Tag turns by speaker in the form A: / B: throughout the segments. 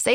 A: Say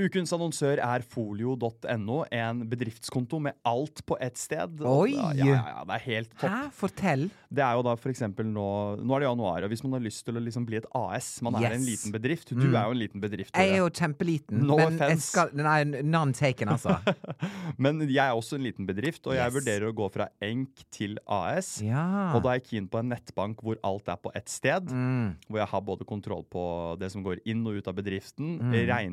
B: Ukens annonsør er folio.no, en bedriftskonto med alt på ett sted. Og
C: Oi!
B: da- Ja, ja, ja, det er helt topp.
C: Hæ? Fortell.
B: Det er jo da for eksempel nå Nå er det januar, og hvis man har lyst til å liksom bli et AS Man er en
C: Yes.
B: liten
C: Mm.
B: bedrift. Du er jo en liten bedrift.
C: Jeg er
B: Tore.
C: jo kjempeliten.
B: No
C: men jeg
B: offense.
C: skal, nei, none taken, altså.
B: Men jeg er også en liten bedrift, og jeg
C: Yes.
B: vurderer å gå fra enk til AS.
C: Ja.
B: Og da er jeg keen på en nettbank hvor alt er på ett sted.
C: Mm.
B: Hvor jeg har både kontroll på det som går inn og ut av bedriften,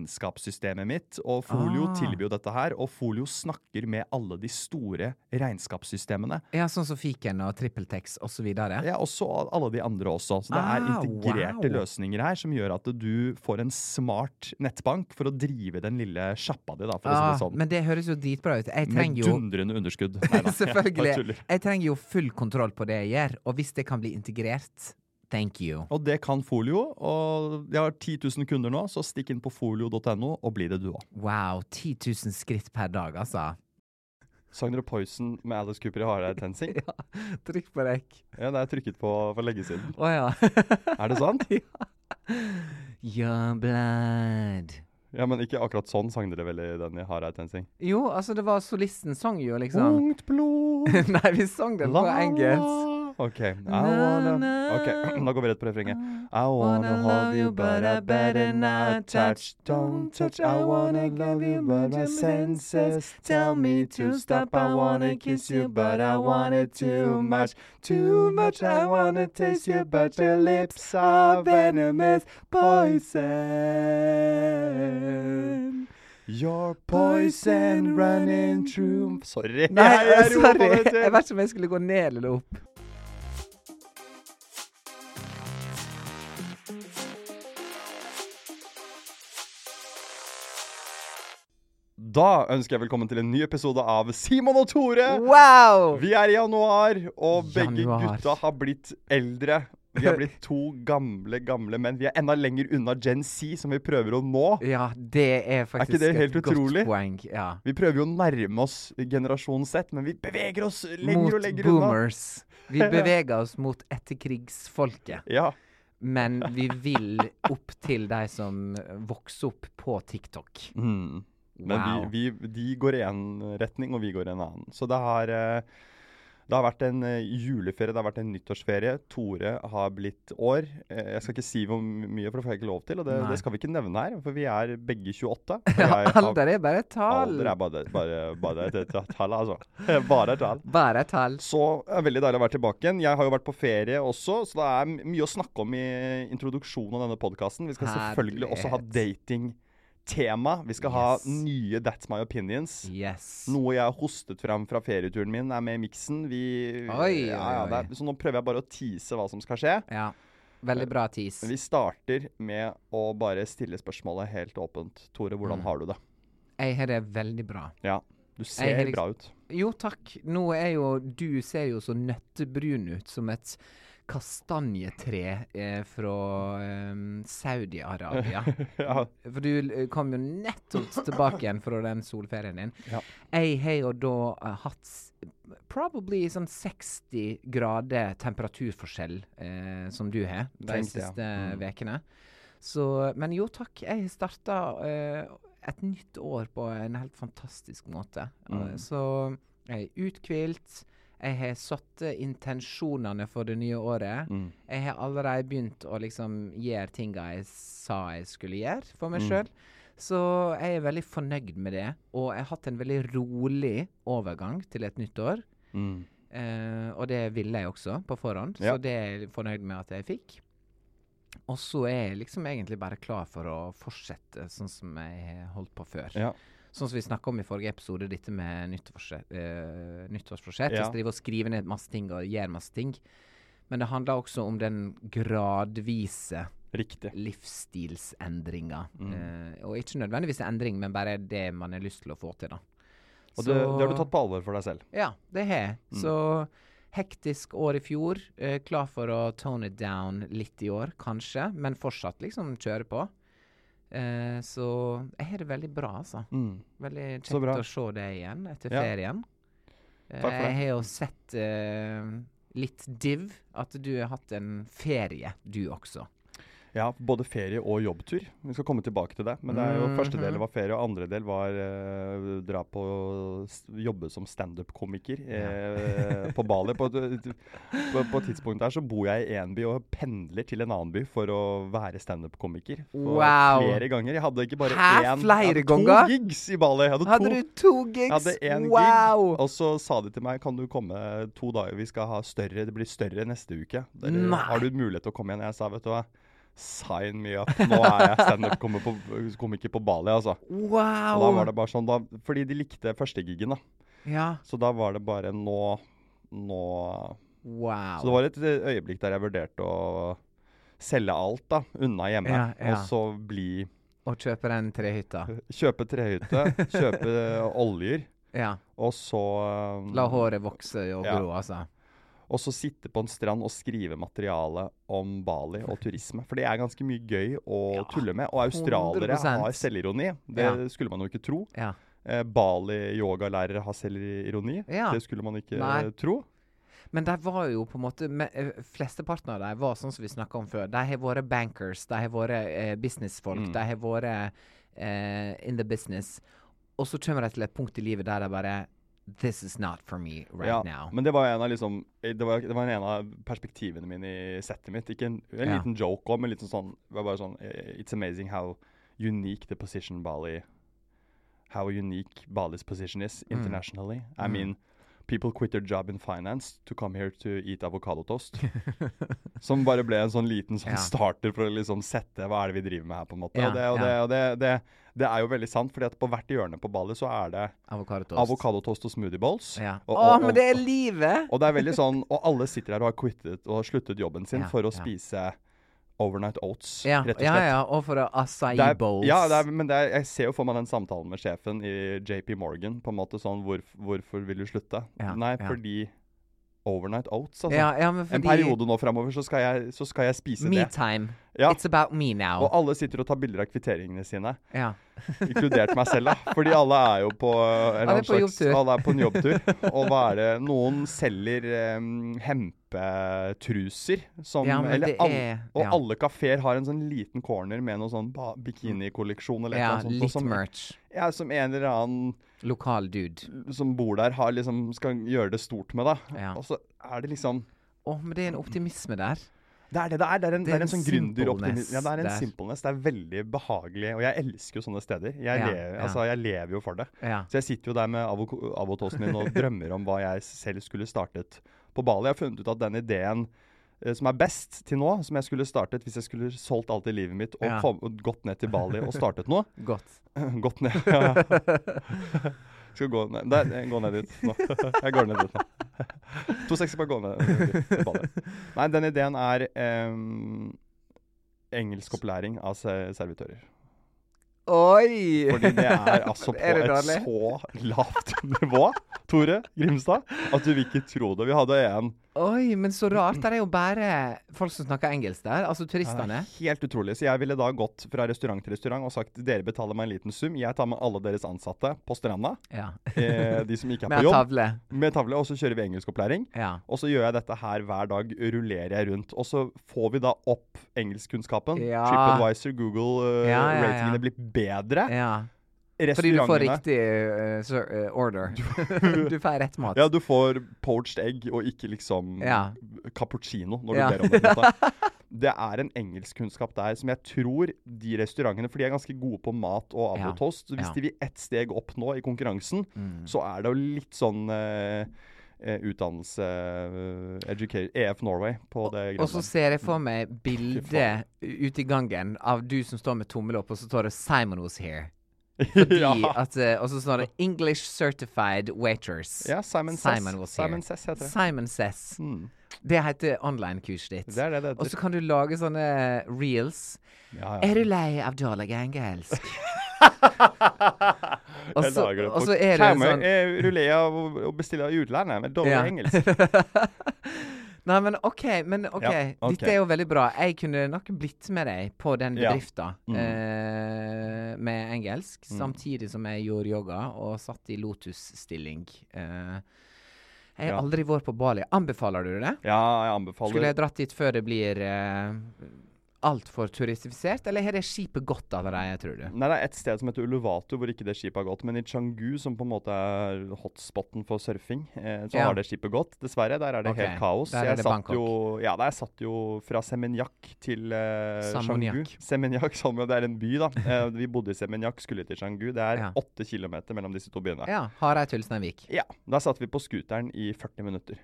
B: regnskapssystemet mitt. Og Folio
C: Mm. Ah.
B: tilbyr jo dette her, og Folio snakker med alle de store regnskapssystemene.
C: Ja, sånn som Fiken og TrippelTex og så videre.
B: Ja, og så alle de andre også. Så det er
C: Ah,
B: integrerte
C: wow.
B: løsninger her som gjør at du får en smart nettbank for å drive den lille sjappa di, da, for å si
C: Ah,
B: det sånn.
C: men det høres jo dritbra ut. Jeg
B: Med
C: trenger jo
B: dundrende underskudd. Nei da, jeg bare tuller.
C: Selvfølgelig. Jeg trenger jo full kontroll på det jeg gjør, og hvis det kan bli integrert, thank you.
B: Og det kan Folio. Og jeg har 10 000 kunder nå, så stikk inn på folio.no og bli det du òg.
C: Wow, 10 000 skritt per dag, altså.
B: Sagner og Poison med Alice Cooper i Hareid Tensing.
C: Ja, trykk på rekk.
B: Ja, det er trykket på for lenge siden.
C: Å ja.
B: Er det sant?
C: Your blood.
B: Ja, men ikke akkurat sånn sang dere vel i den i Hareid Tensing.
C: Jo, altså, det var solisten sang jo, liksom.
B: Ungt blod
C: Nei, vi sang den på engelsk.
B: OK. I wanna Ok, da går vi rett på refrenget. I wanna hold you, but I better not touch. Don't touch. I wanna love you, but my senses tell me to stop. I wanna kiss you, but I want it too much. Too much. I wanna taste you, but your lips are venomous poison. Your poison running through Sorry.
C: Nei,
B: Jeg roper
C: sorry.
B: det til.
C: Jeg vet ikke om jeg skulle gå ned eller opp.
B: Da ønsker jeg velkommen til en ny episode av Simon og Tore.
C: Wow!
B: Vi er i januar, og begge
C: Januar.
B: gutta har blitt eldre. Vi har blitt to gamle, gamle menn. Vi er enda lenger unna Gen Z, som vi prøver å nå.
C: Ja, det er faktisk
B: det helt
C: et
B: utrolig?
C: godt poeng. Ja.
B: Vi prøver jo å nærme oss generasjon Z, men vi beveger oss lenger og
C: Mot
B: lenger unna.
C: boomers. Vi beveger oss mot etterkrigsfolket.
B: Ja,
C: Men vi vil opp til de som vokser opp på TikTok.
B: mm. Men
C: Wow.
B: vi, vi, de går i én retning, og vi går i en annen. Så det har, eh, det har vært en eh, juleferie, det har vært en nyttårsferie. Tore har blitt år. Eh, Jeg skal ikke si hvor mye, for det får jeg ikke lov til. Og det,
C: Nei.
B: det skal vi ikke nevne her, for vi er begge 28. og jeg har-
C: Alder er bare et tall.
B: Alder er bare, bare, bare et et tall, altså. Bare et tall.
C: Bare et tall.
B: Så er det veldig deilig å være tilbake igjen. Jeg har jo vært på ferie også, så det er m- mye å snakke om i introduksjonen av denne podkasten. Vi skal selvfølgelig også ha datingtema. Vi skal
C: Yes.
B: ha nye That's My Opinions.
C: Yes.
B: Noe jeg har hostet fram fra ferieturen min, er med i miksen. Vi,
C: Oi,
B: ja, ja,
C: oi,
B: det er, så nå prøver jeg bare å tease hva som skal skje.
C: Ja. Veldig bra tis.
B: Vi starter med å bare stille spørsmålet helt åpent. Tore, hvordan
C: Mm.
B: har du det?
C: Jeg har det veldig bra.
B: Ja, du
C: har
B: ser
C: liksom-
B: bra ut.
C: Jo, takk. Nå er jo Du ser jo så nøttebrun ut som et kastanjetre eh, fra eh, Saudi-Arabia.
B: Ja.
C: For du eh, kom jo nettopp tilbake igjen fra den solferien din.
B: Ja.
C: Jeg har jo da eh, hatt s- probably sånn 60 grader temperaturforskjell eh, som du har de
B: Tenkte jeg.
C: siste
B: Mm.
C: ukene. Så Men jo takk, jeg har starta eh, et nytt år på en helt fantastisk måte. Eh,
B: Mm.
C: Så jeg er uthvilt. Jeg har satt eh, intensjonene for det nye året.
B: Mm.
C: Jeg har allerede begynt å liksom gjøre tinga jeg sa jeg skulle gjøre for meg
B: Mm.
C: sjøl. Så jeg er veldig fornøyd med det. Og jeg har hatt en veldig rolig overgang til et nytt år.
B: Mm.
C: Eh, og det ville jeg også på forhånd,
B: Ja.
C: så det er jeg fornøyd med at jeg fikk. Og så er jeg liksom egentlig bare klar for å fortsette sånn som jeg har holdt på før.
B: Ja.
C: Sånn som vi snakka om i forrige episode, dette med nyttårsforsett. Uh, nyttårsforsett.
B: Ja.
C: Hvis driver og skriver ned masse ting og gjør masse ting. Men det handler også om den gradvise
B: Riktig.
C: livsstilsendringa.
B: Mm.
C: Eh, og ikke nødvendigvis en endring, men bare det man har lyst til å få til, da.
B: Og det, det har du tatt Mm. på alvor for deg selv.
C: Ja, det har jeg. Så hektisk år i fjor. Eh, klar for å tone it down litt i år, kanskje. Men fortsatt liksom kjøre på. Eh, så jeg har det veldig bra, altså.
B: Mm.
C: Veldig
B: Så
C: kjekt
B: bra.
C: å se deg igjen etter
B: Ja.
C: ferien. Eh,
B: for det.
C: Jeg har jo sett eh, litt div at du har hatt en ferie, du også.
B: Ja, både ferie og jobbtur. Vi skal komme tilbake til det. Men det er jo første del
C: Mhm.
B: var ferie, og andre del var eh, dra på s- jobbe som standup-komiker eh, på Bali. På, et- et- på, på et tidspunkt der så bor jeg i én by og pendler til en annen by for å være standup-komiker. For
C: Wow.
B: Flere ganger. Jeg hadde ikke bare
C: Hæ?
B: én,
C: Flere
B: jeg hadde
C: ganger?
B: to gigs i Bali. Jeg hadde,
C: Hadde
B: to.
C: du to
B: Jeg
C: gigs?
B: hadde én
C: wow!
B: gig, og så sa de til meg kan du komme to dager, vi skal ha større, det blir større neste uke. Der,
C: Nei.
B: har du mulighet til å komme igjen? Jeg sa vet du hva, sign me up, nå er jeg standup-komiker på Bali, altså. Og da
C: Wow!
B: var det bare sånn, da, fordi de likte første gigen, da.
C: Ja,
B: Så da var det bare nå, nå
C: wow.
B: Så det var et øyeblikk der jeg vurderte å selge alt, da, unna hjemme,
C: Ja, ja.
B: og så bli
C: Å kjøpe den trehytta.
B: Kjøpe trehytte, kjøpe oljer,
C: Ja.
B: og så um,
C: La håret vokse og
B: Ja.
C: gro, altså.
B: Og så sitte på en strand og skrive materiale om Bali og turisme. For det er ganske mye gøy å
C: Ja,
B: tulle med. Og australere
C: 100%.
B: har selvironi. Det
C: Ja.
B: skulle man jo ikke tro.
C: Ja.
B: Eh, Bali-yogalærere har selvironi.
C: Ja.
B: Det skulle man ikke
C: Nei.
B: eh, tro.
C: Men de var jo på en måte me- eh, Flesteparten av dem var sånn som vi snakka om før. De har vært bankers, de har vært eh, businessfolk,
B: Mm.
C: de har vært eh, in the business. Og så kommer de til et punkt i livet der de bare This is not for me right
B: Ja,
C: now.
B: Men det var en av liksom Det var, det var en av perspektivene mine i settet mitt. Ikke en, en
C: Ja.
B: liten joke òg, men litt sånn det var bare sånn eh, It's amazing how unique the position Bali How unique Bali's position is
C: Mm.
B: internationally. I mean People quit their job in finance to come here to eat avocado toast. som bare ble en sånn liten sånn
C: Ja.
B: starter for å liksom sette hva er det vi driver med her, på en måte.
C: Ja,
B: og det, og,
C: ja.
B: det, og det, det, det er jo veldig sant, fordi at på hvert hjørne på Bali så er det
C: Avokadotoast.
B: avokadotost og smoothie bowls.
C: Ja.
B: Og-
C: Å,
B: og- og-
C: men det er livet!
B: og det er veldig sånn, og alle sitter her og har quittet og har sluttet jobben sin
C: Ja,
B: for å
C: ja.
B: spise overnight oats,
C: Ja,
B: rett og
C: ja,
B: slett.
C: ja. Og for å- acai
B: Det er,
C: bowls.
B: ja, det er, men det er, jeg ser jo for meg den samtalen med sjefen i JP Morgan. På en måte sånn hvor, 'Hvorfor vil du slutte?'
C: Ja,
B: Nei,
C: ja.
B: fordi overnight oats, altså.
C: ja, ja, men fordi
B: En periode nå framover, så, skal jeg- så skal jeg spise
C: Me
B: det.
C: time.
B: Ja.
C: It's about me now.
B: Og alle sitter og tar bilder av kvitteringene sine,
C: ja.
B: inkludert meg selv. da Fordi alle er jo på eh, en
C: Alle er
B: annen slags
C: på jobbtur.
B: Alle er på en jobbtur. Og hva er det Noen selger em, hempetruser som
C: Ja, men
B: eller
C: det
B: alle-
C: er-
B: Og
C: ja.
B: alle kafeer har en sånn liten corner med noe sånn ba- bikinikolleksjon eller
C: ja
B: noe sånt. sånn- og
C: litt
B: som,
C: merch.
B: Ja, som en eller annen
C: Lokal dude.
B: som bor der, har liksom skal gjøre det stort med, da.
C: Ja.
B: Og så er det liksom
C: Å, men det er en optimisme der.
B: Det er det det er. Det er en, det er en sånn
C: simpleness
B: gründeroptimisme. Ja, det er en
C: der.
B: simpleness. Det er veldig behagelig. Og jeg elsker jo sånne steder. Jeg,
C: Ja,
B: lever,
C: ja.
B: Altså, jeg lever jo for det.
C: Ja.
B: Så jeg sitter jo der med avoko- avotosten min og drømmer om hva jeg selv skulle startet på Bali. Jeg har funnet ut at den ideen eh, som er best til nå, som jeg skulle startet hvis jeg skulle solgt alt i livet mitt og
C: Ja.
B: kom, og gått ned til Bali og startet noe
C: Godt.
B: Gått ned, ja. Skal gå ned, der, jeg går ned dit nå. Jeg går ned dit nå. To sekser bare gå ned dit til Bali. Nei, den ideen er um, engelskopplæring av se- servitører.
C: Oi!
B: Fordi det er altså på
C: Er det
B: et
C: dårlig?
B: så lavt nivå, Tore Grimstad, at du vil ikke tro det. Vi hadde en
C: Oi, men så rart. Det er jo bare folk som snakker engelsk der. Altså turistene.
B: helt utrolig. Så jeg ville da gått fra restaurant til restaurant og sagt dere betaler meg en liten sum, jeg tar med alle deres ansatte på stranda,
C: Ja.
B: eh, de som ikke er
C: Med
B: på
C: en
B: jobb,
C: tavle.
B: med tavle, og så kjører vi engelskopplæring.
C: Ja.
B: Og så gjør jeg dette her hver dag, rullerer jeg rundt. Og så får vi da opp engelskkunnskapen.
C: Ja.
B: TripAdvisor, Google, eh,
C: Ja, ja, ja.
B: ratingene blir bedre.
C: ja. Fordi du
B: Restaurantene
C: får riktig eh, sir- eh, order. Du får rett mat.
B: Ja, du får poached egg og ikke liksom
C: Ja.
B: cappuccino når
C: Ja.
B: du ber om det. på en måte. det er en engelskkunnskap der som jeg tror de restaurantene For de er ganske gode på mat og
C: Ja.
B: avotost. Så hvis
C: Ja. Mm.
B: de vil ett steg opp nå i konkurransen, så er det jo litt sånn eh, eh, utdannelse eh, educa- EF Norway på det
C: Og så
B: greiene.
C: ser jeg for meg bilde
B: faen.
C: ute i gangen av du som står med tommel opp, og så står det 'Simon was here'.
B: Fordi
C: I at, eh, og så står det 'English Certified Waiters'.
B: Ja, Simon Says.
C: Simon was
B: Simon
C: here.
B: Says heter det.
C: Simon Says.
B: Mm.
C: Det heter online-kurset ditt.
B: Det er det det heter.
C: Og så kan du lage sånne reels.
B: Ja, ja.
C: Er du lei av Jarlagang engelsk? og
B: Jeg
C: så-
B: lager det
C: og
B: på
C: så er det en
B: Karmøy.
C: sånn-
B: Eh, Ruller av å bestille i utlandet med dårlig
C: Ja.
B: engelsk.
C: Nei, men OK. men ok,
B: Ja, ok.
C: Dette er jo veldig bra. Jeg kunne nok blitt med deg på den
B: Ja. Mm.
C: bedrifta eh, med engelsk, samtidig som jeg gjorde yoga og satt i lotusstilling. Eh, jeg
B: Ja.
C: har aldri vært på Bali. Anbefaler du det?
B: Ja, jeg anbefaler
C: Skulle jeg dratt dit før det blir eh, altfor turistifisert, eller har det skipet godt av det, tror du?
B: Nei, det er et sted som heter Uluvatu hvor ikke det skipet har gått. Men i Canggu, som på en måte er hotspoten for surfing, eh, så
C: Ja.
B: har det skipet gått. Dessverre. Der er det
C: Ok,
B: helt kaos.
C: der er
B: jeg
C: det
B: satt
C: Bangkok.
B: jo Ja, der satt jo fra Seminyak til eh,
C: Samoniak.
B: Canggu. Seminyak, som jo det er en by, da. Eh, vi bodde i Seminyak, skulle til Canggu. Det er
C: Ja.
B: åtte kilometer mellom disse to byene.
C: Ja. Hareid til Ulsteinvik.
B: Ja. Der satt vi på scooteren i 40 minutter.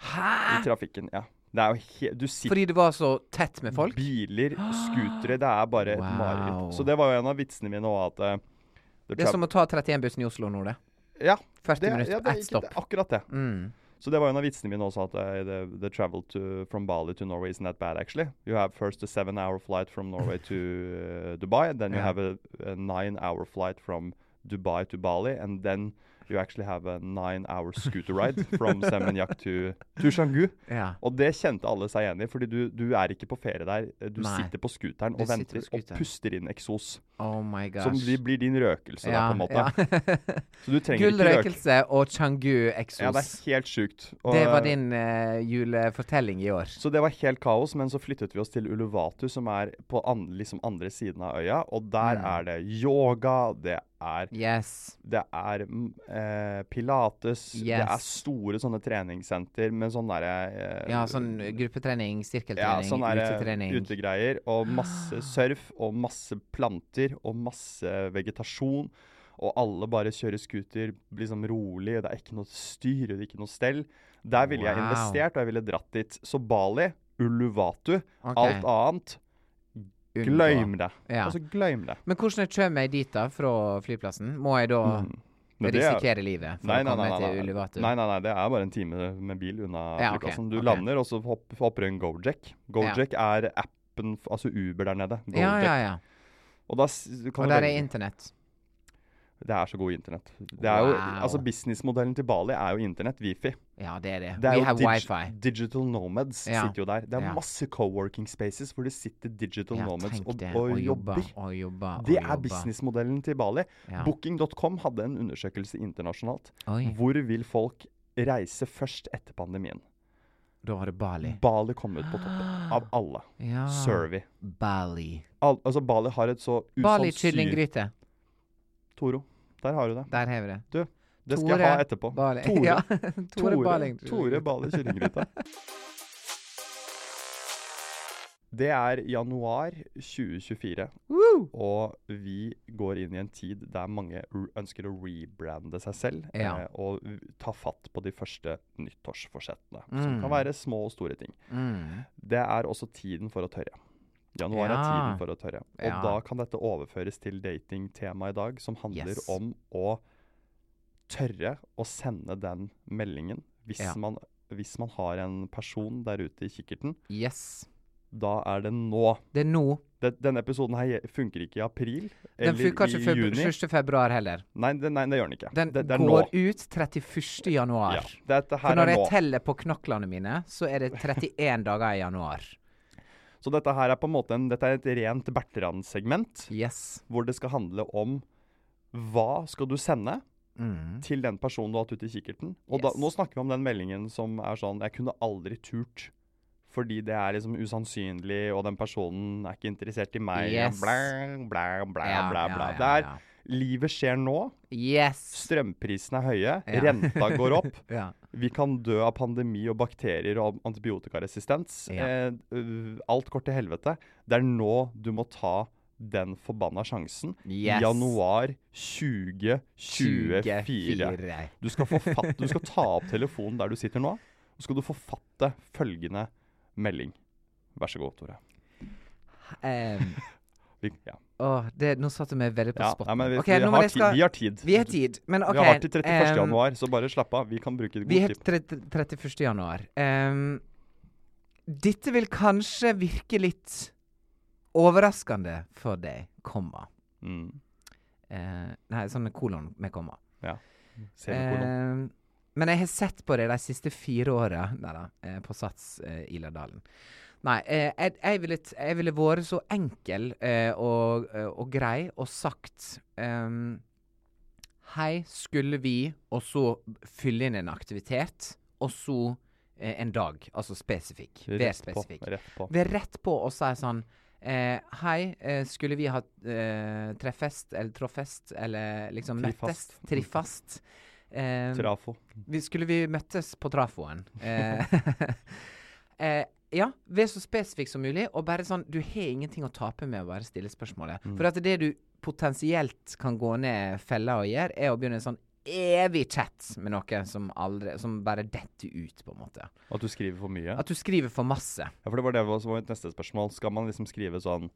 B: I
C: Hæ?!
B: trafikken. Ja. Det er jo he Du sitter
C: Fordi det var så tett med
B: Mm.
C: folk?
B: Biler, scootere. Det er bare et
C: Wow.
B: mareritt. Så det var jo en av vitsene mine òg, at eh, the
C: Det er
B: trav-
C: som å ta 31-bussen i Oslo nå, det.
B: Ja,
C: 40
B: det,
C: minutter,
B: ja, det, er
C: ett
B: ikke-
C: stopp.
B: det, er akkurat det.
C: Mm.
B: Så det var en av vitsene mine også, at eh, the, the travel to, from Bali to Norway isn't that bad, actually. You have first a seven hour flight from Norway to uh, Dubai, and then you
C: Ja.
B: have a, a nine hour flight from Dubai to Bali, and then you actually have a nine hour scooter ride from Seminyak to, to Canggu.
C: Ja.
B: Og det kjente alle seg enig i, fordi du, du er ikke på ferie der. eh, Du
C: Nei.
B: sitter på scooteren
C: Du
B: og
C: sitter
B: venter
C: på scooteren.
B: og puster inn eksos.
C: Oh my gosh.
B: Som blir, blir din røkelse, da, på en måte.
C: ja.
B: Så du trenger
C: Gull
B: ikke røke.
C: røkelse og Changu eksos.
B: Ja, det
C: det,
B: er helt sjukt. Og,
C: var din eh, julefortelling i år.
B: Så det var helt kaos, men så flyttet vi oss til Uluvatu, som er på an, liksom andre siden av øya. Og der
C: Mm.
B: er det yoga, det er,
C: Yes.
B: det er mm, eh, pilates, det er
C: Yes.
B: store sånne treningssenter med sånn derre eh,
C: Ja, sånn gruppetrening,
B: ja,
C: sirkeltrening,
B: sånn derre
C: utetrening. Ah.
B: utegreier. Og masse surf, og masse planter, og masse vegetasjon. Og alle bare kjører scooter liksom rolig, det er ikke noe styr, det er ikke noe stell. Der ville jeg
C: Wow.
B: investert, og jeg ville dratt dit. Så Bali, Uluvatu,
C: Ok,
B: alt annet
C: unngå.
B: Glem det.
C: Ja.
B: Altså, glem det.
C: Men hvordan kommer jeg dit da, fra flyplassen? Må jeg da
B: Mm. Men det er-
C: risikere livet for
B: Nei, nei,
C: å komme
B: nei, nei,
C: til
B: nei.
C: Ulivatu?
B: Nei, nei, nei, det er bare en time med bil unna
C: Ja, ok,
B: flyplassen. Du
C: ok.
B: lander, og så hopp, hopper du en Gojek. Gojek er appen, f- altså Uber der nede. Gojek.
C: Ja, ja, ja.
B: Og, da, s- du kan
C: Og
B: du
C: der er
B: velge-
C: internett.
B: det er så god internett. Det er jo,
C: Wow.
B: altså Businessmodellen til Bali er jo internett, Wifi.
C: Ja, det er det.
B: Det er
C: We
B: jo
C: have
B: dig-
C: wifi.
B: Digital nomads
C: Ja.
B: sitter jo der. Det er
C: Ja.
B: masse co-working spaces hvor det sitter digital
C: Ja,
B: nomads
C: tenk
B: og,
C: det.
B: og
C: jobbe,
B: jobber.
C: Og jobbe, og
B: Det
C: jobbe.
B: er businessmodellen til Bali.
C: Ja.
B: Booking.com hadde en undersøkelse internasjonalt.
C: Oi,
B: Hvor vil folk reise først etter pandemien?
C: da var det Bali.
B: Bali kom ut på toppen av alle.
C: Ja.
B: Survey.
C: Bali.
B: Al altså, Bali har et så
C: Bali
B: usannsynlig
C: kyllinggryte.
B: Toro, der har du det.
C: Der har vi det.
B: Det skal jeg ha etterpå.
C: Bali.
B: Tore.
C: Ja, Tore,
B: Tore,
C: Baling.
B: Tore Bali kyllinggryte. Det er januar 2024,
C: Woo!
B: og vi går inn i en tid der mange r- ønsker å rebrande seg selv
C: Ja.
B: eh, og v- ta fatt på de første nyttårsforsettene, som
C: Mm.
B: kan være små og store ting.
C: Mm.
B: Det er også tiden for å tørre. Januar er
C: Ja.
B: tiden for å tørre. Og
C: Ja.
B: da kan dette overføres til datingtemaet i dag, som handler
C: Yes.
B: om å tørre å sende den meldingen hvis,
C: Ja.
B: man, hvis man har en person der ute i kikkerten.
C: Yes.
B: Da er det nå.
C: Det er nå.
B: Det, denne episoden her funker ikke i april
C: Den
B: eller
C: funker
B: i
C: ikke før
B: juni.
C: 1. februar heller.
B: Nei, det, nei, det gjør den ikke.
C: Den
B: det, det er
C: går
B: nå.
C: ut 31. januar.
B: Ja, dette
C: For
B: her
C: når
B: er
C: jeg
B: nå.
C: teller på knoklene mine, så er det 31 dager i januar.
B: Så dette her er på en måte en, dette er et rent Bertrand-segment,
C: Yes.
B: hvor det skal handle om hva skal du sende?
C: Mm.
B: til den personen du har hatt ute i kikkerten. Og da,
C: Yes.
B: nå snakker vi om den meldingen som er sånn Jeg kunne aldri turt. Fordi det er liksom usannsynlig, og den personen er ikke interessert i meg. og
C: Yes.
B: Blæ, blæ, blæ, blæ, blæ.
C: ja,
B: Det er
C: ja.
B: Livet skjer nå.
C: Yes!
B: Strømprisene er høye.
C: Ja.
B: Renta går opp.
C: Ja.
B: Vi kan dø av pandemi og bakterier og antibiotikaresistens.
C: Ja.
B: Eh, øh, alt går til helvete. Det er nå du må ta den forbanna sjansen.
C: Yes.
B: Januar 2024. Du skal, forfatte, du skal ta opp telefonen der du sitter nå, og skal du forfatte følgende melding. Vær så god, Tore.
C: Em,
B: Vi, ja.
C: åh, det, nå satte vi veldig på
B: Ja,
C: spotten.
B: nei, men vi,
C: Ok,
B: vi,
C: nå må
B: har
C: jeg
B: tid,
C: skal-
B: vi har tid.
C: Vi har tid, men OK.
B: Vi har til 31.
C: em,
B: januar, så bare slapp av. Vi kan bruke god
C: Vi er
B: tid.
C: 30, 31. januar. Em, dette vil kanskje virke litt overraskende for deg, komma.
B: Mm.
C: Eh, nei, sånn med kolon med komma.
B: Semikolon.
C: Em, Eh, men jeg har sett på det de siste fire åra Nei da, eh, på Sats eh, Iladalen. Nei, eh, jeg, jeg, ville, t- jeg ville vært så enkel eh, og, eh, og grei og sagt em, Hei, skulle vi Og så fylle inn en aktivitet, og så eh, en dag. Altså spesifikk. Vær
B: Rett på.
C: spesifikk.
B: Rett på.
C: Vi er rett på og sier sånn eh, Hei, eh, skulle vi ha eh, treffest eller tråffest eller liksom møttes?
B: Trifast.
C: Trifast. Eh,
B: Trafo.
C: vi skulle vi møttes på trafoen? Eh, eh, ja, vær så spesifikk som mulig, og bare sånn Du har ingenting å tape med å bare stille spørsmålet. For at det du potensielt kan gå ned fella og gjøre, er å begynne en sånn evig chat med noe som, aldri, som bare detter ut, på en måte.
B: At du skriver for mye?
C: At du skriver for masse.
B: Ja, for det var det som var mitt neste spørsmål. Skal man liksom skrive sånn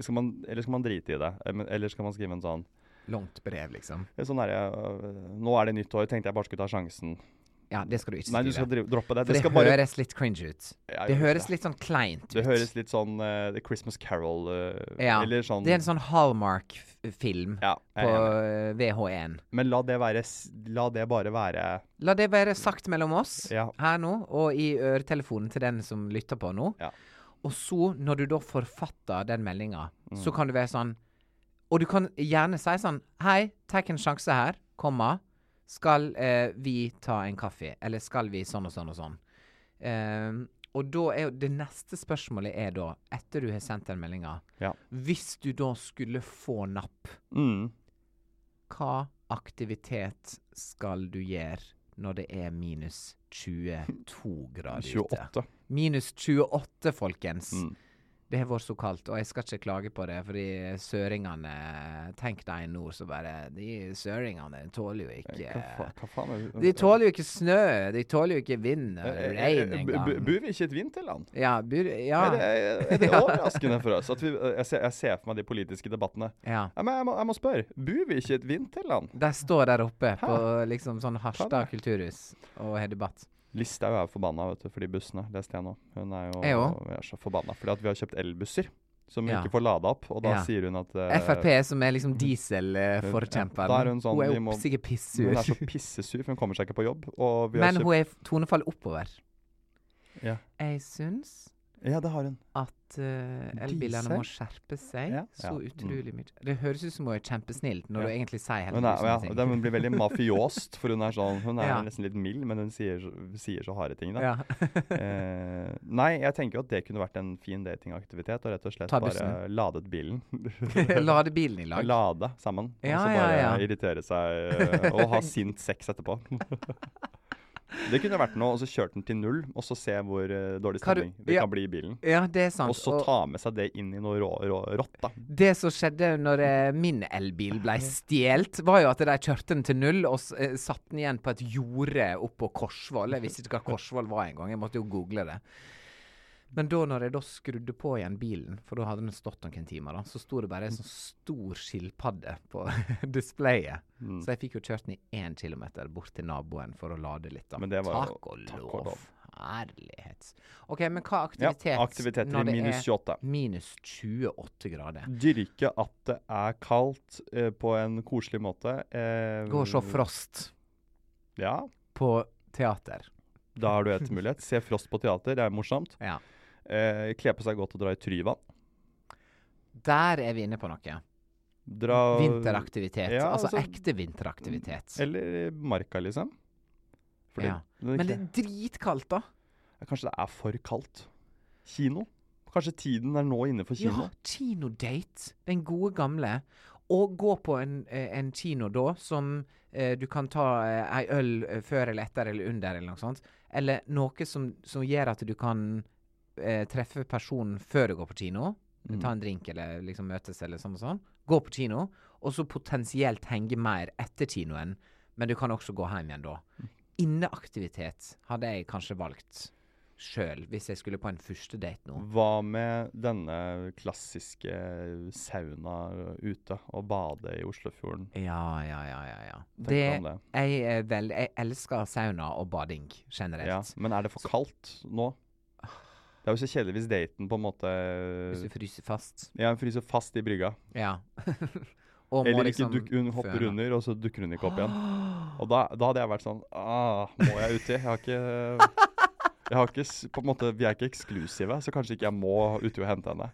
B: skal man, Eller skal man drite i det? Eh, men- Eller skal man skrive en sånn
C: Langt brev, liksom.
B: eh, Sånn er jeg, øh, Nå er det nytt år, tenkte jeg bare skulle ta sjansen.
C: Ja, det skal du ikke skrive.
B: Nei, du skal drive, droppe det.
C: For
B: Det,
C: det
B: skal bare,
C: høres litt cringe ut.
B: Ja, jeg
C: det
B: gjør
C: høres litt sånn kleint ut.
B: det høres litt sånn eh, The Christmas Carol eh,
C: ja.
B: Eller sånn
C: Det er en sånn Hallmark-film
B: ja, jeg
C: på
B: er enig.
C: eh, VH1.
B: Men la det, være, s- la det bare være
C: La det være sagt mellom oss
B: Ja.
C: her nå, og i øretelefonen til den som lytter på nå.
B: Ja.
C: Og så, når du da forfatter den meldinga,
B: Mm.
C: så kan du være sånn Og du kan gjerne si sånn Hei, ta en sjanse her, komma. Skal eh, vi ta en kaffe? Eller skal vi sånn og sånn og sånn? Ehm, og da er jo det neste spørsmålet er da, etter du har sendt den meldinga
B: Ja.
C: Hvis du da skulle få napp,
B: mm,
C: hva aktivitet skal du gjøre når det er minus 22 grader ute?
B: 28.
C: Minus 28, folkens.
B: Mm.
C: Det har vært så kaldt, og jeg skal ikke klage på det, fordi søringene Tenk deg nå, så bare De søringene tåler jo
B: Hva,
C: ikke
B: fa hva faen er
C: De tåler jo ikke snø, de tåler jo ikke vind og
B: Eh, eh,
C: regn
B: eh, b- b-
C: engang.
B: Bor vi ikke i et vinterland?
C: Ja, bur, ja,
B: Er det, er- er det overraskende for oss? At vi, eh, jeg, ser, jeg ser for meg de politiske debattene.
C: ja.
B: Ja, men jeg må, jeg må spørre, bor vi ikke i et vinterland?
C: De står der oppe på liksom sånn Harstad kulturhus og har debatt.
B: Listhaug er jo forbanna vet du, for de bussene, leste jeg nå. Hun er jo
C: Jeg også.
B: er så forbanna fordi at vi har kjøpt elbusser som hun
C: Ja.
B: ikke får lada opp. Og da
C: Ja.
B: sier hun at eh,
C: Frp, som er liksom dieselforkjemperen,
B: Da er hun sånn,
C: er
B: vi må-
C: opp- sikkert
B: Hun
C: pissur.
B: er så altså. pissesur, for hun kommer seg ikke på jobb. Og vi har
C: Men
B: kjøpt,
C: hun er tonefallet oppover.
B: Ja.
C: Jeg syns
B: Ja, det har hun.
C: at eh, elbilene må skjerpe seg
B: Ja.
C: så
B: Ja.
C: utrolig mye. Det høres ut som hun er kjempesnill, når
B: Ja.
C: du egentlig sier
B: Hun,
C: heller
B: er, ja,
C: usannheter.
B: det- hun blir veldig mafiost, for hun er sånn Hun er
C: Ja.
B: nesten litt mild, men hun sier, så- sier så harde ting, da.
C: Ja.
B: Eh, nei, jeg tenker jo at det kunne vært en fin datingaktivitet. Og rett og slett
C: Ta
B: bare
C: bussen.
B: ladet bilen.
C: Lade bilen i lag.
B: Lade sammen.
C: Ja,
B: og så
C: ja,
B: bare
C: ja.
B: irritere seg eh, og ha sint sex etterpå. det kunne vært noe. Og så kjørt den til null, og så se hvor eh, dårlig
C: Hva du-
B: stemning det
C: ja.
B: kan bli i bilen.
C: Ja, det er sant.
B: Og så ta med seg det inn i noe rå, rå, rått, da.
C: Det som skjedde når eh, min elbil ble stjålet, var jo at de kjørte den til null og s- eh, satte den igjen på et jorde oppå Korsvoll. Jeg visste ikke hva Korsvoll var engang, jeg måtte jo google det. Men da når jeg da skrudde på igjen bilen, for da hadde den stått noen timer, da, så sto det bare en sånn stor skilpadde på displayet.
B: Mm.
C: Så jeg fikk jo kjørt den i én kilometer bort til naboen for å lade litt. da.
B: Men det var jo-
C: takk, og
B: takk og
C: lov.
B: lov.
C: Herlighet. OK, men
B: Ja,
C: hva aktivitet
B: aktiviteter i minus 28.
C: minus 28 grader?
B: Dyrke at det er kaldt eh, på en koselig måte. Eh,
C: Gå og se Frost
B: Ja,
C: på teater.
B: da har du et mulighet. Se Frost på teater, det er morsomt.
C: Ja.
B: Eh, kle på seg godt og dra i Tryvann.
C: Der er vi inne på noe.
B: Dra
C: Vinteraktivitet.
B: ja,
C: altså,
B: altså-
C: ekte vinteraktivitet.
B: Eller i marka, liksom. Fordi
C: Ja.
B: det er
C: Men det
B: ikke-
C: er dritkaldt, da.
B: Ja, Kanskje det er for kaldt. Kino? Kanskje tiden er nå inne for
C: Ja,
B: kino?
C: kinodate. Den gode gamle. Og gå på en, eh, en kino da som eh, du kan ta eh, ei øl eh, før eller etter eller under eller noe sånt. Eller noe som, som gjør at du kan eh, treffe personen før du går på kino. Ta en drink eller liksom møtes eller sånn og sånn. Gå på kino, og så potensielt henge mer etter kinoen. Men du kan også gå hjem igjen da. Inneaktivitet hadde jeg kanskje valgt sjøl, hvis jeg skulle på en første date nå.
B: Hva med denne klassiske sauna ute og bade i Oslofjorden?
C: Ja, ja, ja, ja. ja. Det,
B: Tenker man det.
C: jeg, er vel, jeg elsker sauna og bading generelt.
B: Ja. Men er det for kaldt nå? Det er jo så kjedelig hvis daten på en måte
C: Ah. Hvis du fryser fast.
B: Ja, fryser fast i brygga.
C: Ja. Og må
B: Eller ikke
C: liksom
B: duk, hun hopper
C: føne.
B: under, og så dukker hun ikke opp igjen. Og da, da hadde jeg vært sånn ah, Må jeg uti? Jeg har ikke jeg har ikke, s- på en måte, Vi er ikke eksklusive, så kanskje ikke jeg må uti og hente henne.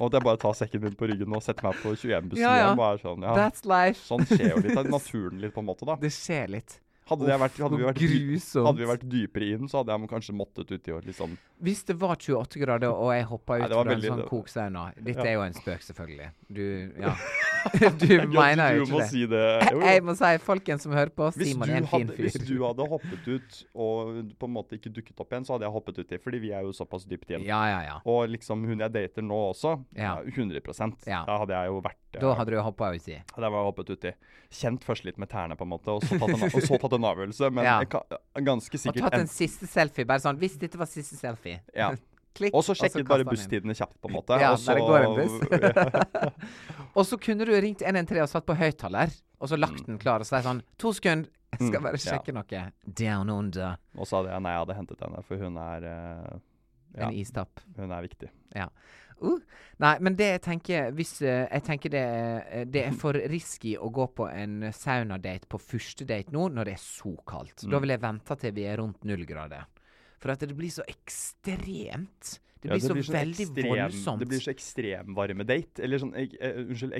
B: Og at jeg bare tar sekken min på ryggen og setter meg på 21-bussen
C: Ja, ja.
B: hjem. og er sånn, ja,
C: That's life.
B: Sånn skjer jo litt av naturen litt, på en måte. da.
C: Det skjer litt.
B: Hadde, det vært, hadde, vi
C: noe
B: vært dy-
C: grusomt.
B: hadde vi vært dypere inn, så hadde jeg kanskje måttet uti og liksom
C: Hvis det var 28 grader og jeg hoppa ut
B: Nei, det
C: fra
B: var
C: en
B: veldig-
C: sånn
B: det-
C: koksauna Dette
B: Ja.
C: er jo en spøk, selvfølgelig. Du Ja. Du mener jo
B: Du må
C: ikke det.
B: si det. Jo, jo.
C: Jeg må si folkens som hører på,
B: Hvis du,
C: Simon er en fin
B: hadde,
C: fyr.
B: hvis du hadde hoppet ut og på en måte ikke dukket opp igjen, så hadde jeg hoppet uti, fordi vi er jo såpass dypt igjen.
C: Ja, ja, ja.
B: Og liksom hun jeg dater nå også,
C: Ja.
B: ja, 100
C: Ja.
B: Da hadde jeg jo vært
C: Da hadde du hoppa uti.
B: hadde jeg bare hoppet uti. Kjent først litt med tærne, på en måte, og så tatt en, og så tatt en avgjørelse. Men
C: Ja.
B: jeg kan, ganske
C: Og
B: sikkert
C: tatt
B: en-
C: en siste selfie. Bare sånn Hvis dette var siste selfie.
B: ja.
C: Klikk.
B: Og så sjekket bare
C: kastet han
B: busstidene
C: inn.
B: kjapt, på en måte.
C: Ja,
B: og så,
C: der går en buss. og så kunne du ringt 113 og satt på høyttaler, og så lagt den klar og sagt sånn To sekunder, jeg skal
B: Mm,
C: bare
B: ja.
C: sjekke noe. Down under.
B: og så hadde jeg nei, jeg hadde hentet henne, for hun er eh,
C: En
B: ja,
C: istapp.
B: hun er viktig.
C: Uh. Nei, men det jeg tenker hvis, eh, Jeg tenker det, er- det er for risky å gå på en saunadate på første date nå når det er så kaldt.
B: Mm.
C: Da vil jeg vente til vi er rundt null grader. For at det blir så ekstremt. Det
B: Ja,
C: blir, så
B: sånn
C: veldig
B: ekstrem-
C: voldsomt.
B: Det blir så ekstremvarmedate. Eller sånn ek, eh, Unnskyld,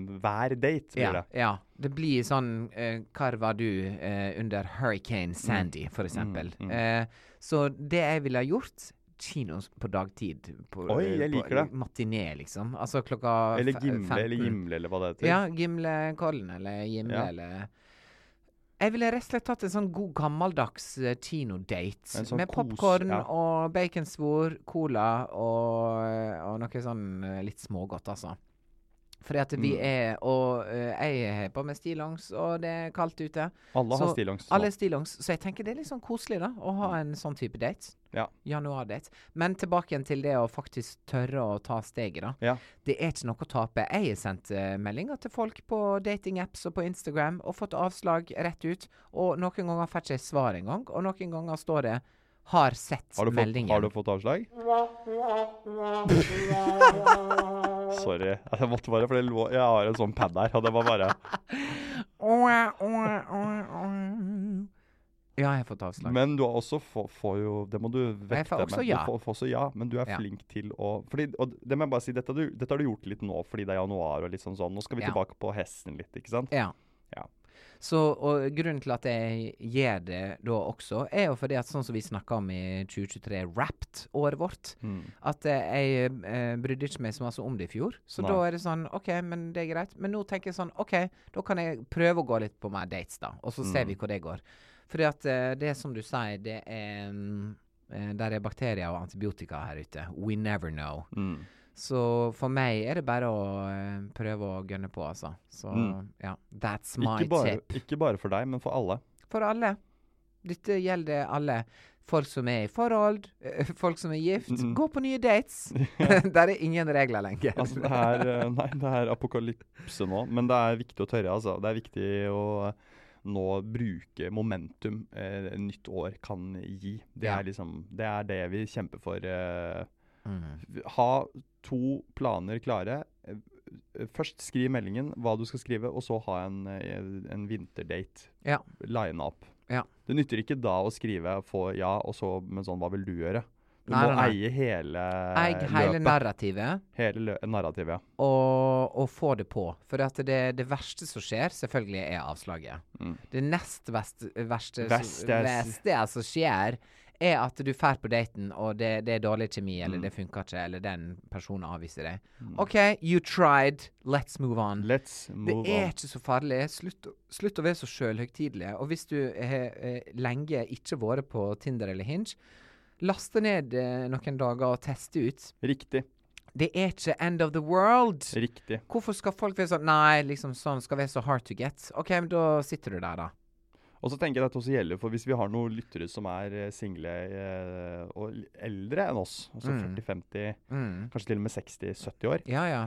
B: ekstremværdate blir
C: ja,
B: det.
C: Ja. Det blir sånn eh, Hvor var du eh, under Hurricane Sandy, for eksempel?
B: mm.
C: Eh, så det jeg ville ha gjort Kino på dagtid. På,
B: Oi, jeg
C: på-
B: liker det.
C: Matiné, liksom. Altså klokka
B: Eller
C: fe-
B: gimle,
C: 15.
B: eller gimle, eller hva det heter.
C: Ja, Gimlekollen eller Gimle
B: Ja.
C: eller Jeg ville rett og slett tatt en sånn god gammeldags eh, kinodate
B: En sånn
C: med
B: kos-
C: popkorn
B: ja.
C: og baconsvor, cola og, og noe sånn eh, litt smågodt, altså. Fordi at vi
B: Mm.
C: er Og eh, jeg har på meg stillongs, og det er kaldt ute.
B: Alle har
C: Så
B: stillongs. nå.
C: Alle er stillongs, så jeg tenker det er litt sånn koselig, da, å ha en sånn type date.
B: Ja.
C: Januardate. Men tilbake igjen til det å faktisk tørre å ta steget, da.
B: Ja.
C: Det er ikke noe å tape. Jeg har sendt eh, meldinger til folk på datingapps og på Instagram og fått avslag rett ut. Og noen ganger får jeg ikke svar engang, og noen ganger står det 'har sett
B: Har du, fått,
C: meldingen'.
B: har du fått avslag? Sorry. Jeg måtte bare, for det lå, jeg har en sånn pad der, og det var bare
C: Åh, åh, åh, åh. Ja, jeg har fått avslag.
B: Men du har også få, får jo Det må du
C: jeg
B: vekte
C: får også
B: med.
C: ja.
B: Du får, får også ja, men du er
C: Ja.
B: flink til å fordi, Og det må jeg bare si, dette har, du, dette har du gjort litt nå fordi det er januar og litt sånn sånn. Nå skal vi
C: Ja.
B: tilbake på hesten litt, ikke sant?
C: Ja.
B: Ja.
C: Så, og grunnen til at jeg gjør det da også, er jo fordi at sånn som vi snakka om i 2023, wrapped året vårt, at eh, jeg eh, brydde ikke meg så masse om det i fjor. Så
B: Nei.
C: da er det sånn OK, men det er greit. Men nå tenker jeg sånn OK, da kan jeg prøve å gå litt på mer dates, da. Og så
B: Mm.
C: ser vi hvor det går. Fordi at eh, det som du sier, det er mm, eh, Der er bakterier og antibiotika her ute. We never know.
B: Mm.
C: Så for meg er det bare å eh, prøve å gønne på, altså. Så
B: Mm.
C: ja, that's my
B: Ikke, bare,
C: tip.
B: ikke bare for deg, men for alle.
C: For alle. Dette gjelder alle. Folk som er i forhold, eh, folk som er gift.
B: Mm.
C: Gå på nye dates! Der er ingen regler lenger.
B: Altså, det er, eh, nei, det er apokalypse nå, men det er viktig å tørre. Altså. Det er viktig å nå bruke momentum eh, nytt år kan gi. Det,
C: Ja.
B: er liksom, det er det vi kjemper for. Eh,
C: Mm.
B: ha to planer klare. Eh, Først skriv meldingen, hva du skal skrive, og så ha en, eh, en vinterdate.
C: Ja.
B: Line up.
C: Ja.
B: Det nytter ikke da å skrive få ja, og så, men sånn, hva vil du gjøre? Du
C: Nei,
B: må
C: nei, nei.
B: eie hele
C: Eig hele
B: løpet.
C: narrativet,
B: hele lø narrativet. Ja.
C: og, og få det på. For at det, det verste som skjer, selvfølgelig er avslaget.
B: Mm.
C: Det nest vest, verste,
B: Verste.
C: verste som skjer, er at du drar på daten, og det, det er dårlig kjemi, eller
B: Mm.
C: det funker ikke, eller den personen avviser deg. OK, you tried. Let's move on.
B: Let's
C: Mm. det
B: move
C: er
B: on.
C: ikke så farlig. Slutt, å- slutt å være så sjølhøytidelig. Og hvis du har eh, lenge ikke vært på Tinder eller Hinge, last det ned eh, noen dager og test det ut.
B: Riktig.
C: Det er ikke end of the world.
B: Riktig.
C: Hvorfor skal folk være sånn Nei, liksom sånn skal være så hard to get. OK, men da sitter du der, da.
B: Og så tenker jeg at det også gjelder for hvis vi har noen lyttere som er eh, single eh, og l- eldre enn oss, altså
C: Mm.
B: 40-50,
C: Mm.
B: kanskje til og med 60-70 år,
C: Ja, ja.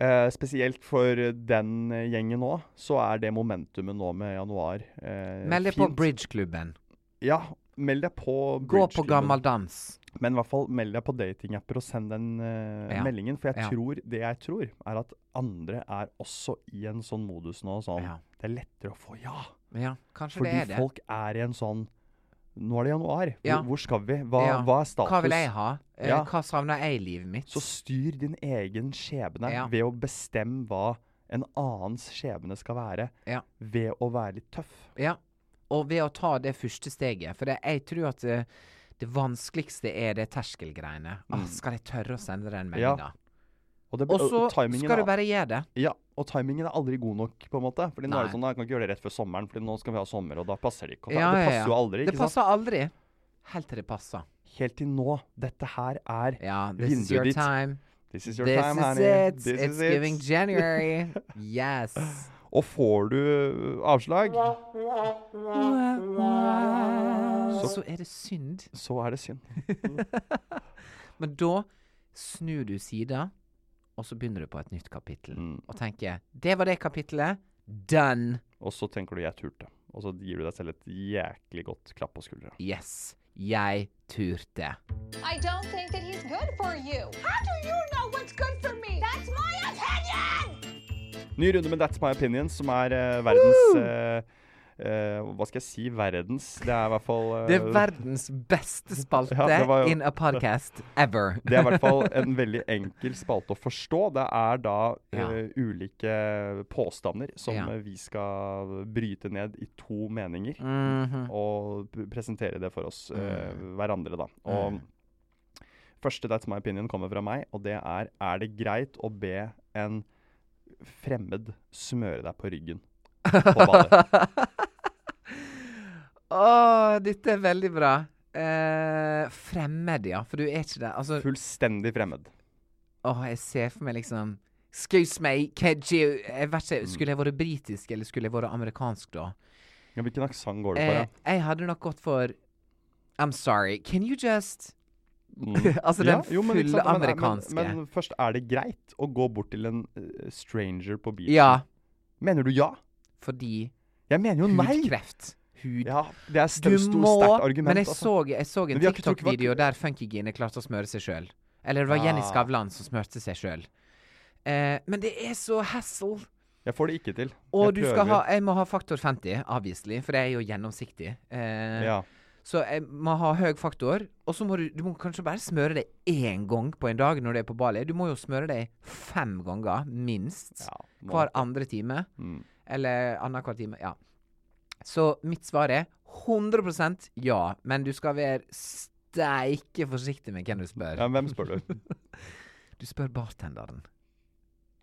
B: eh, spesielt for den eh, gjengen nå, så er det momentumet nå med januar eh,
C: Meld deg på
B: fint.
C: bridgeklubben.
B: Ja, meld deg på
C: Gå på
B: bridgeklubben.
C: gammel dans.
B: Men i hvert fall meld deg på datingapper og send den eh,
C: Ja.
B: meldingen. For jeg
C: Ja.
B: tror, det jeg tror, er at andre er også i en sånn modus nå. Sånn,
C: Ja.
B: Det er lettere å få ja.
C: Ja, kanskje
B: Fordi
C: det er det.
B: folk er i en sånn Nå er det januar. Hvor,
C: Ja.
B: hvor skal vi? Hva,
C: Ja.
B: hva er status?
C: Hva vil jeg ha? Eh,
B: Ja.
C: Hva savner jeg i livet mitt?
B: Så styr din egen skjebne
C: Ja.
B: ved å bestemme hva en annens skjebne skal være,
C: Ja.
B: ved å være litt tøff.
C: Ja, og ved å ta det første steget. For det, jeg tror at eh, det vanskeligste er det terskelgreiene. Ah, skal jeg tørre å sende den
B: Mm. Ja.
C: meldinga?
B: Og, det,
C: Og så
B: timingen
C: skal
B: er-
C: du bare gjøre det.
B: Ja, og timingen er aldri god nok, på en måte. Fordi nå er det
C: Nei.
B: sånn, jeg kan ikke gjøre det rett før sommeren, Fordi nå skal vi ha sommer, og da passer det ikke. Og da,
C: Ja,
B: det
C: ja,
B: passer
C: ja.
B: jo aldri,
C: Det
B: ikke sant?
C: passer aldri. Helt til det passer.
B: Helt til nå. Dette her er
C: Ja, this
B: Vinduet
C: is your
B: ditt.
C: time.
B: This is your
C: This
B: time,
C: is
B: honey.
C: it.
B: This
C: It's
B: is it.
C: giving January. Yes.
B: Og får du uh, avslag,
C: Så er det synd.
B: så er det synd.
C: Men da snur du sida, og så begynner du på et nytt kapittel.
B: Mm.
C: Og tenker 'Det var det kapittelet. Done'.
B: Og så tenker du 'jeg turte'. Og så gir du deg selv et jæklig godt klapp på skuldra.
C: Yes. Jeg turte.
D: I don't think that he's good for you. How do you know what's good for me? That's my opinion!
B: Ny runde med That's My Opinion, som er eh, verdens eh, eh, Hva skal jeg si? Verdens. Det er i hvert fall eh,
C: Det er verdens beste spalte
B: Ja, det var jo-
C: in a podcast ever.
B: Det er i hvert fall en veldig enkel spalte å forstå. Det er da
C: Ja.
B: eh, ulike påstander som
C: Ja.
B: eh, vi skal bryte ned i to meninger.
C: Mhm.
B: Og p- presentere det for oss, eh,
C: Mm.
B: hverandre, da. Og første That's my opinion kommer fra meg, og det er Er det greit å be en fremmed smøre deg på ryggen på badet?
C: Åh, dette er veldig bra. Eh, fremmed, ja. For du er ikke det. Altså,
B: Fullstendig fremmed.
C: åh, jeg ser for meg liksom Excuse me, could you jeg vet ikke, Skulle jeg vært britisk, eller skulle jeg vært amerikansk da?
B: Ja, hvilken aksent går det for?
C: Eh,
B: Ja?
C: jeg hadde nok gått for I'm sorry, can you just
B: Mm.
C: altså den
B: jo, men ikke
C: fulle
B: sant, men- men-
C: amerikanske.
B: Men, men først, er det greit å gå bort til en eh, stranger på bilen?
C: Ja,
B: Mener du ja?
C: fordi
B: Jeg mener jo nei!
C: hudkreft. Hud
B: Ja, det er st
C: Du
B: st
C: må
B: sterkt argument.
C: Men jeg
B: altså.
C: så, jeg så en
B: Men vi har ikke trukket-
C: TikTok-video der Funkygine klarte å smøre seg sjøl. Eller det var Jenny
B: Ah.
C: Skavlan som smørte seg sjøl. Eh, men det er så hassle.
B: Jeg får det ikke til.
C: Og
B: Jeg
C: du skal
B: prøver.
C: ha Jeg må ha faktor 50, obviously, for det er jo gjennomsiktig. Eh,
B: Ja.
C: Så jeg må ha høy faktor. Og så må du Du må kanskje bare smøre deg én gang på en dag når du er på Bali. Du må jo smøre deg fem ganger, minst.
B: ja må-
C: Hver andre time.
B: Mm.
C: Eller annenhver time. Ja. Så mitt svar er 100 ja, men du skal være steike forsiktig med hvem du spør.
B: ja, Hvem spør du?
C: Du spør bartenderen.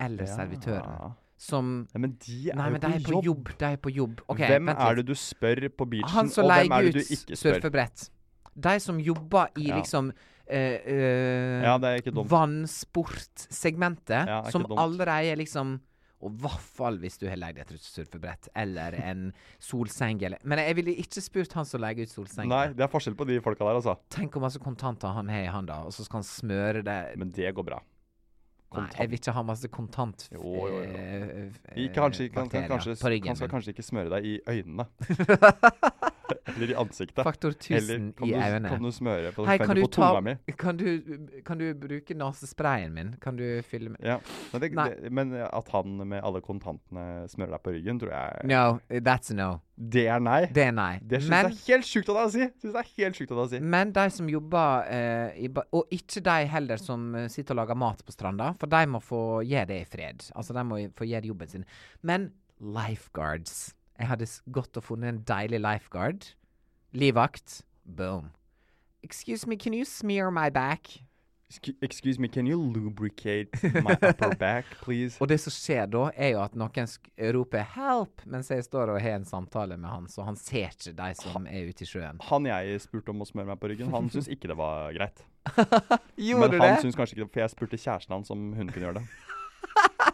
C: Eller servitøren.
B: Ja.
C: Som
B: Nei, men de er
C: Nei,
B: jo
C: men de er på jobb. De er på jobb. OK,
B: hvem
C: vent
B: er
C: litt.
B: det du spør på beachen,
C: Han som
B: og hvem er
C: leier
B: det du
C: ut
B: ikke spør?
C: surfebrett. De som jobber i
B: Ja.
C: liksom eh, eh,
B: Ja, det er ikke dumt.
C: vannsportsegmentet,
B: Ja, er ikke
C: som
B: dumt.
C: allerede er liksom Og i hvert fall hvis du har leid etter et surfebrett eller en solseng. Eller, men jeg ville ikke spurt han som leier ut solseng.
B: Nei, det er forskjell på de folka der, altså.
C: Tenk hvor masse kontanter han har i handa, og så skal han smøre det
B: Men det går bra.
C: Nei, jeg vil ikke ha masse kontant...
B: Jo, jo, jo.
C: eh,
B: Vi
C: eh,
B: kanskje, kan, kan,
C: bakterier
B: kanskje,
C: på ryggen
B: han skal
C: min.
B: kanskje ikke smøre deg i øynene. Eller i ansiktet.
C: Faktor 1000
B: Eller kan
C: i
B: du,
C: øynene.
B: kan du smøre på,
C: Hei, kan du,
B: på
C: ta,
B: tunga mi?
C: kan, du, kan du bruke nesesprayen min? Kan du fylle med
B: Ja. Men, det,
C: Nei.
B: det, men at han med alle kontantene smører deg på ryggen, tror jeg
C: No, that's a no.
B: Det er nei.
C: Det er nei.
B: Det syns jeg
C: men,
B: er helt sjukt av deg å si! Synes det er helt sjukt av deg å si.
C: men de som jobber eh, i ba Og ikke de heller som eh, sitter og lager mat på stranda, for de må få gjøre det i fred. Altså, de må jo få gjøre jobben sin. Men lifeguards Jeg hadde s- gått og funnet en deilig lifeguard. Livvakt. Boom. Excuse me, can you smear my back?
B: Excu- Excuse me, can you lubricate my upper back, please?
C: Og det som skjer da, er jo at noen sk roper 'help' mens jeg står og har en samtale med han, så han ser ikke de som er ute i sjøen.
B: Han jeg spurte om å smøre meg på ryggen, han syntes ikke det var greit.
C: Gjorde
B: Men
C: du
B: han
C: det?
B: syntes kanskje ikke det, for jeg spurte kjæresten hans om hun kunne gjøre det.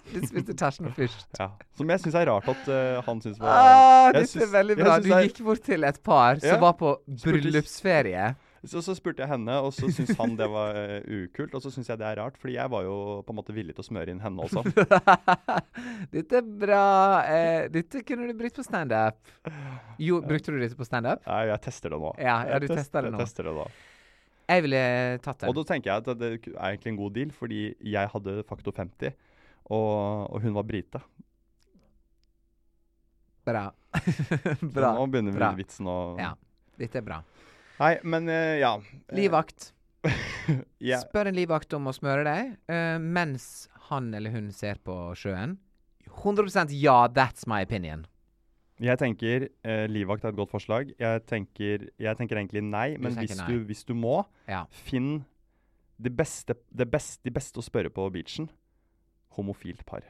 C: Du spiste kjæresten først.
B: Ja. Som jeg syns er rart at eh, han syns var
C: Ah,
B: Jeg
C: dette er
B: syns-
C: veldig
B: jeg
C: bra.
B: syns
C: Du
B: det er-
C: gikk bort til et par
B: Ja.
C: som var på
B: Spurte-
C: bryllupsferie.
B: Så, så spurte jeg henne, og så syntes han det var eh, ukult. Og så syns jeg det er rart, fordi jeg var jo på en måte villig til å smøre inn henne også.
C: dette er bra. Eh, dette kunne du brukt på standup. Jo, brukte du dette på standup?
B: Nei, jeg tester det nå.
C: Ja, ja,
B: Jeg
C: du
B: test-
C: tester det nå.
B: Jeg tester det nå.
C: Jeg ville tatt
B: Og
C: den.
B: da tenker jeg at det er egentlig en god deal, fordi jeg hadde faktor 50, og, og hun var brite.
C: Bra.
B: Så
C: bra.
B: Nå begynner
C: bra.
B: vi vitsen å
C: Ja. Dette er bra.
B: Nei, men eh, ja. Eh,
C: Livvakt.
B: ja.
C: Spør en livvakt om å smøre deg eh, mens han eller hun ser på sjøen. 100 ja, that's my opinion.
B: Jeg tenker eh, livvakt er et godt forslag. Jeg tenker, jeg tenker egentlig nei, men
C: tenker
B: hvis,
C: nei.
B: Du, hvis du må,
C: Ja.
B: finn det beste, det beste, de beste å spørre på beachen. Homofilt par.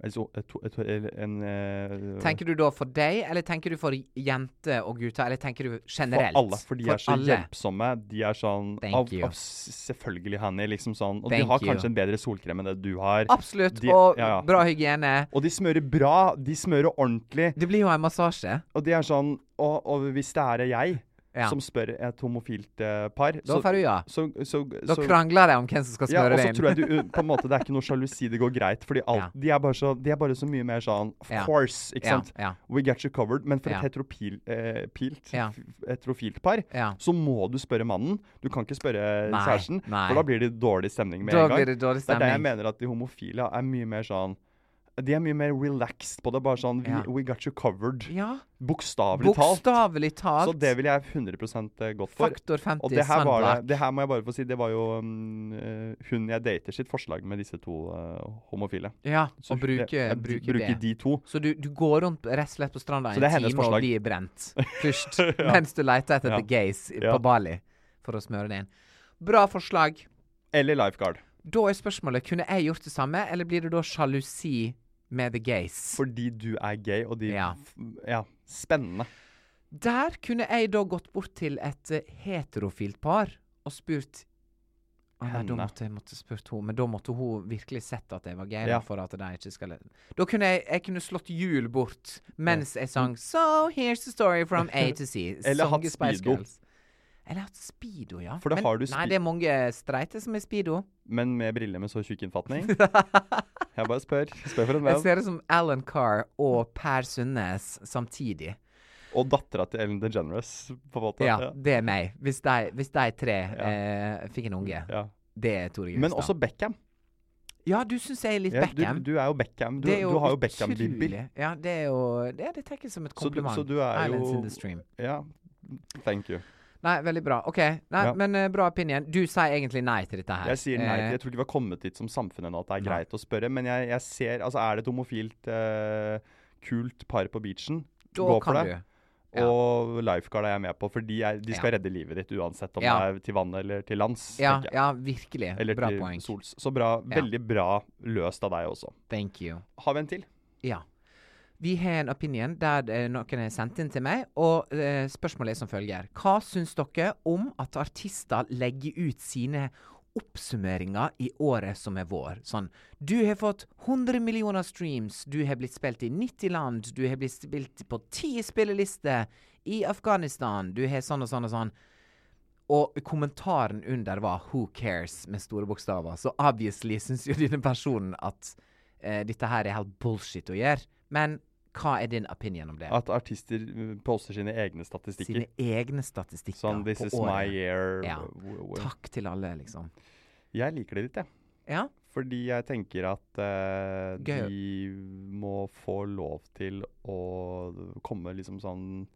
B: Eller så- et, to- et, to- eller en eh,
C: Tenker du da for deg, eller tenker du for jenter og gutter, eller tenker du generelt?
B: For alle, for de
C: For
B: er så
C: alle.
B: hjelpsomme. De er sånn
C: Thank
B: av,
C: you.
B: av, s- Selvfølgelig, Hanny. Liksom sånn. Og
C: Thank
B: de har
C: you. Ah.
B: kanskje en bedre solkrem enn det du har.
C: Absolutt,
B: De-
C: og
B: ja, ja.
C: bra hygiene.
B: Og de smører bra. De smører ordentlig.
C: Det blir jo en massasje.
B: Og de er sånn Og, og hvis det er jeg
C: Ja.
B: som spør et homofilt eh, par
C: Da får du ja.
B: så, så,
C: Da
B: så-
C: krangler de om hvem som skal
B: ja,
C: smøre
B: og så
C: deg inn.
B: tror jeg du, uh, på en måte, det er ikke noe sjalusi, det går greit. Fordi alt,
C: Ja.
B: de, er bare så, de er bare så mye mer sånn Of
C: Ja.
B: course, ikke sant?
C: Ja, ja.
B: We get you covered. Men for
C: Ja.
B: et heteropil, eh, pilt,
C: Ja.
B: f- heterofilt par,
C: Ja.
B: så må du spørre mannen. Du kan ikke spørre
C: Nei,
B: kjæresten,
C: nei.
B: for da blir det dårlig stemning med
C: Da
B: en gang.
C: blir det dårlig
B: Det er det jeg
C: stemning.
B: mener at de homofile er mye mer sånn De er mye mer relaxed på det. Bare sånn We,
C: Ja.
B: we got you covered.
C: ja.
B: Bokstavelig talt.
C: Bokstavelig talt.
B: Så det ville jeg 100 gått for.
C: Faktor 50
B: Og det her, var det,
C: sandbak.
B: det her må jeg bare få si, det var jo mm, eh, hun jeg dater sitt forslag med disse to eh, homofile.
C: Ja,
B: Så
C: å
B: hun-
C: bruke,
B: jeg br-
C: bruke
B: bruker
C: det.
B: de to.
C: Så du, du går rundt rett og slett på stranda
B: Så
C: en
B: det er hennes
C: time og
B: forslag.
C: blir brent først, mens du leter etter
B: Ja.
C: the gays i-
B: Ja.
C: på Bali for å smøre det inn. Bra forslag.
B: Eller lifeguard.
C: Da er spørsmålet kunne jeg gjort det samme, eller blir det da sjalusi med the gays?
B: Fordi du er gay, og de
C: Ja.
B: f- ja spennende.
C: Der kunne jeg da gått bort til et eh, heterofilt par og spurt Å nei, da
B: Henne.
C: måtte jeg måtte spurt hun, men da måtte hun virkelig sett at jeg var gay.
B: Ja.
C: da, For at de ikke skal Da kunne jeg, jeg kunne slått hjul bort mens jeg sang So here's the story from A to C.
B: Eller
C: sunget
B: hatt
C: Spice
B: Speedo.
C: Girls. Eller hatt speedo, ja.
B: For da
C: Men-
B: har du
C: Nei,
B: spe-
C: det er mange streite som er speedo.
B: Men med briller med så tjukk innfatning. Jeg bare spør. Spør for en
C: Jeg
B: venn.
C: ser det som Alan Carr og Per Sundnes samtidig.
B: Og dattera til Ellen DeGeneres, på en måte.
C: Ja, det er meg. Hvis de, hvis de tre eh, fikk en unge.
B: Ja.
C: Det er Tore Gullstad.
B: Men også Beckham.
C: Ja, du syns jeg er litt
B: Ja,
C: Beckham.
B: Du, du er jo Beckham. Du,
C: Det
B: du
C: er
B: har jo
C: utrolig.
B: Beckham-bibber.
C: Ja, det er jo Det, det tenker jeg som et
B: Så du-
C: kompliment.
B: så du er jo-
C: Islands in the stream.
B: Ja. Thank you.
C: Nei, veldig bra. OK. Nei,
B: Ja.
C: men eh, bra opinion. Du sier egentlig nei til dette her.
B: Jeg sier nei. til-
C: Eh,
B: Jeg tror ikke vi har kommet dit som samfunn ennå at det er
C: Nei.
B: greit å spørre. Men jeg, jeg ser Altså, er det et homofilt, eh, kult par på beachen,
C: Eh, da
B: gå for
C: kan
B: det.
C: du. ja.
B: Og lifeguard er jeg med på, for de, er, de skal
C: Ja.
B: redde livet ditt uansett om
C: Ja.
B: det er til vannet eller til lands.
C: Ja,
B: tenker jeg.
C: ja, virkelig.
B: Eller
C: bra
B: til
C: poeng.
B: sols. Så bra.
C: Ja.
B: Veldig bra løst av deg også.
C: Thank you.
B: Har vi en til?
C: Ja. Vi har en opinion der det er noen har sendt inn til meg, og eh, spørsmålet er som følger. Hva syns dere om at artister legger ut sine oppsummeringer i året som er vår? Sånn Du har fått 100 millioner streams, du har blitt spilt i 90 land, du har blitt spilt på 10 spillelister i Afghanistan, du har sånn og sånn og sånn. Og kommentaren under var 'Who cares?' med store bokstaver. Så obviously syns jo denne personen at eh, dette her er helt bullshit å gjøre. Men hva er din opinion om det?
B: At artister uh, poster sine egne statistikker.
C: Sine egne statistikker
B: Sånn This
C: på
B: is my
C: året.
B: year.
C: Ja.
B: w- w-
C: Takk til alle, liksom.
B: Jeg liker det litt, jeg.
C: Ja.
B: Fordi jeg tenker at eh,
C: Gøy.
B: de må få lov til å komme liksom sånn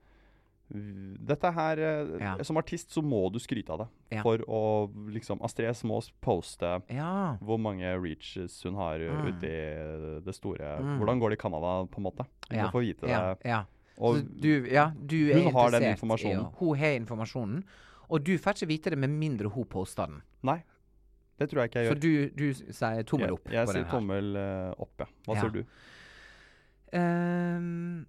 B: v- Dette her eh,
C: Ja.
B: Som artist så må du skryte av det.
C: Ja.
B: For å liksom Astrid S må s- poste
C: Ja.
B: hvor mange reaches hun har eh,
C: Mm.
B: ute i det store
C: Mm.
B: Hvordan går det i Canada, på en måte? Du
C: ja.
B: må få vite det.
C: ja. ja.
B: Og
C: så du, ja, du er
B: hun har den
C: interessert i å-
B: informasjonen.
C: Hun har informasjonen. Og du får ikke vite det med mindre hun poster den.
B: Nei. Det tror jeg ikke jeg
C: Så
B: gjør.
C: du, du s- sier tommel opp
B: Jeg, jeg
C: på den
B: sier
C: her.
B: tommel eh, opp, ja. Hva
C: Ja.
B: sier du?
C: Ehm,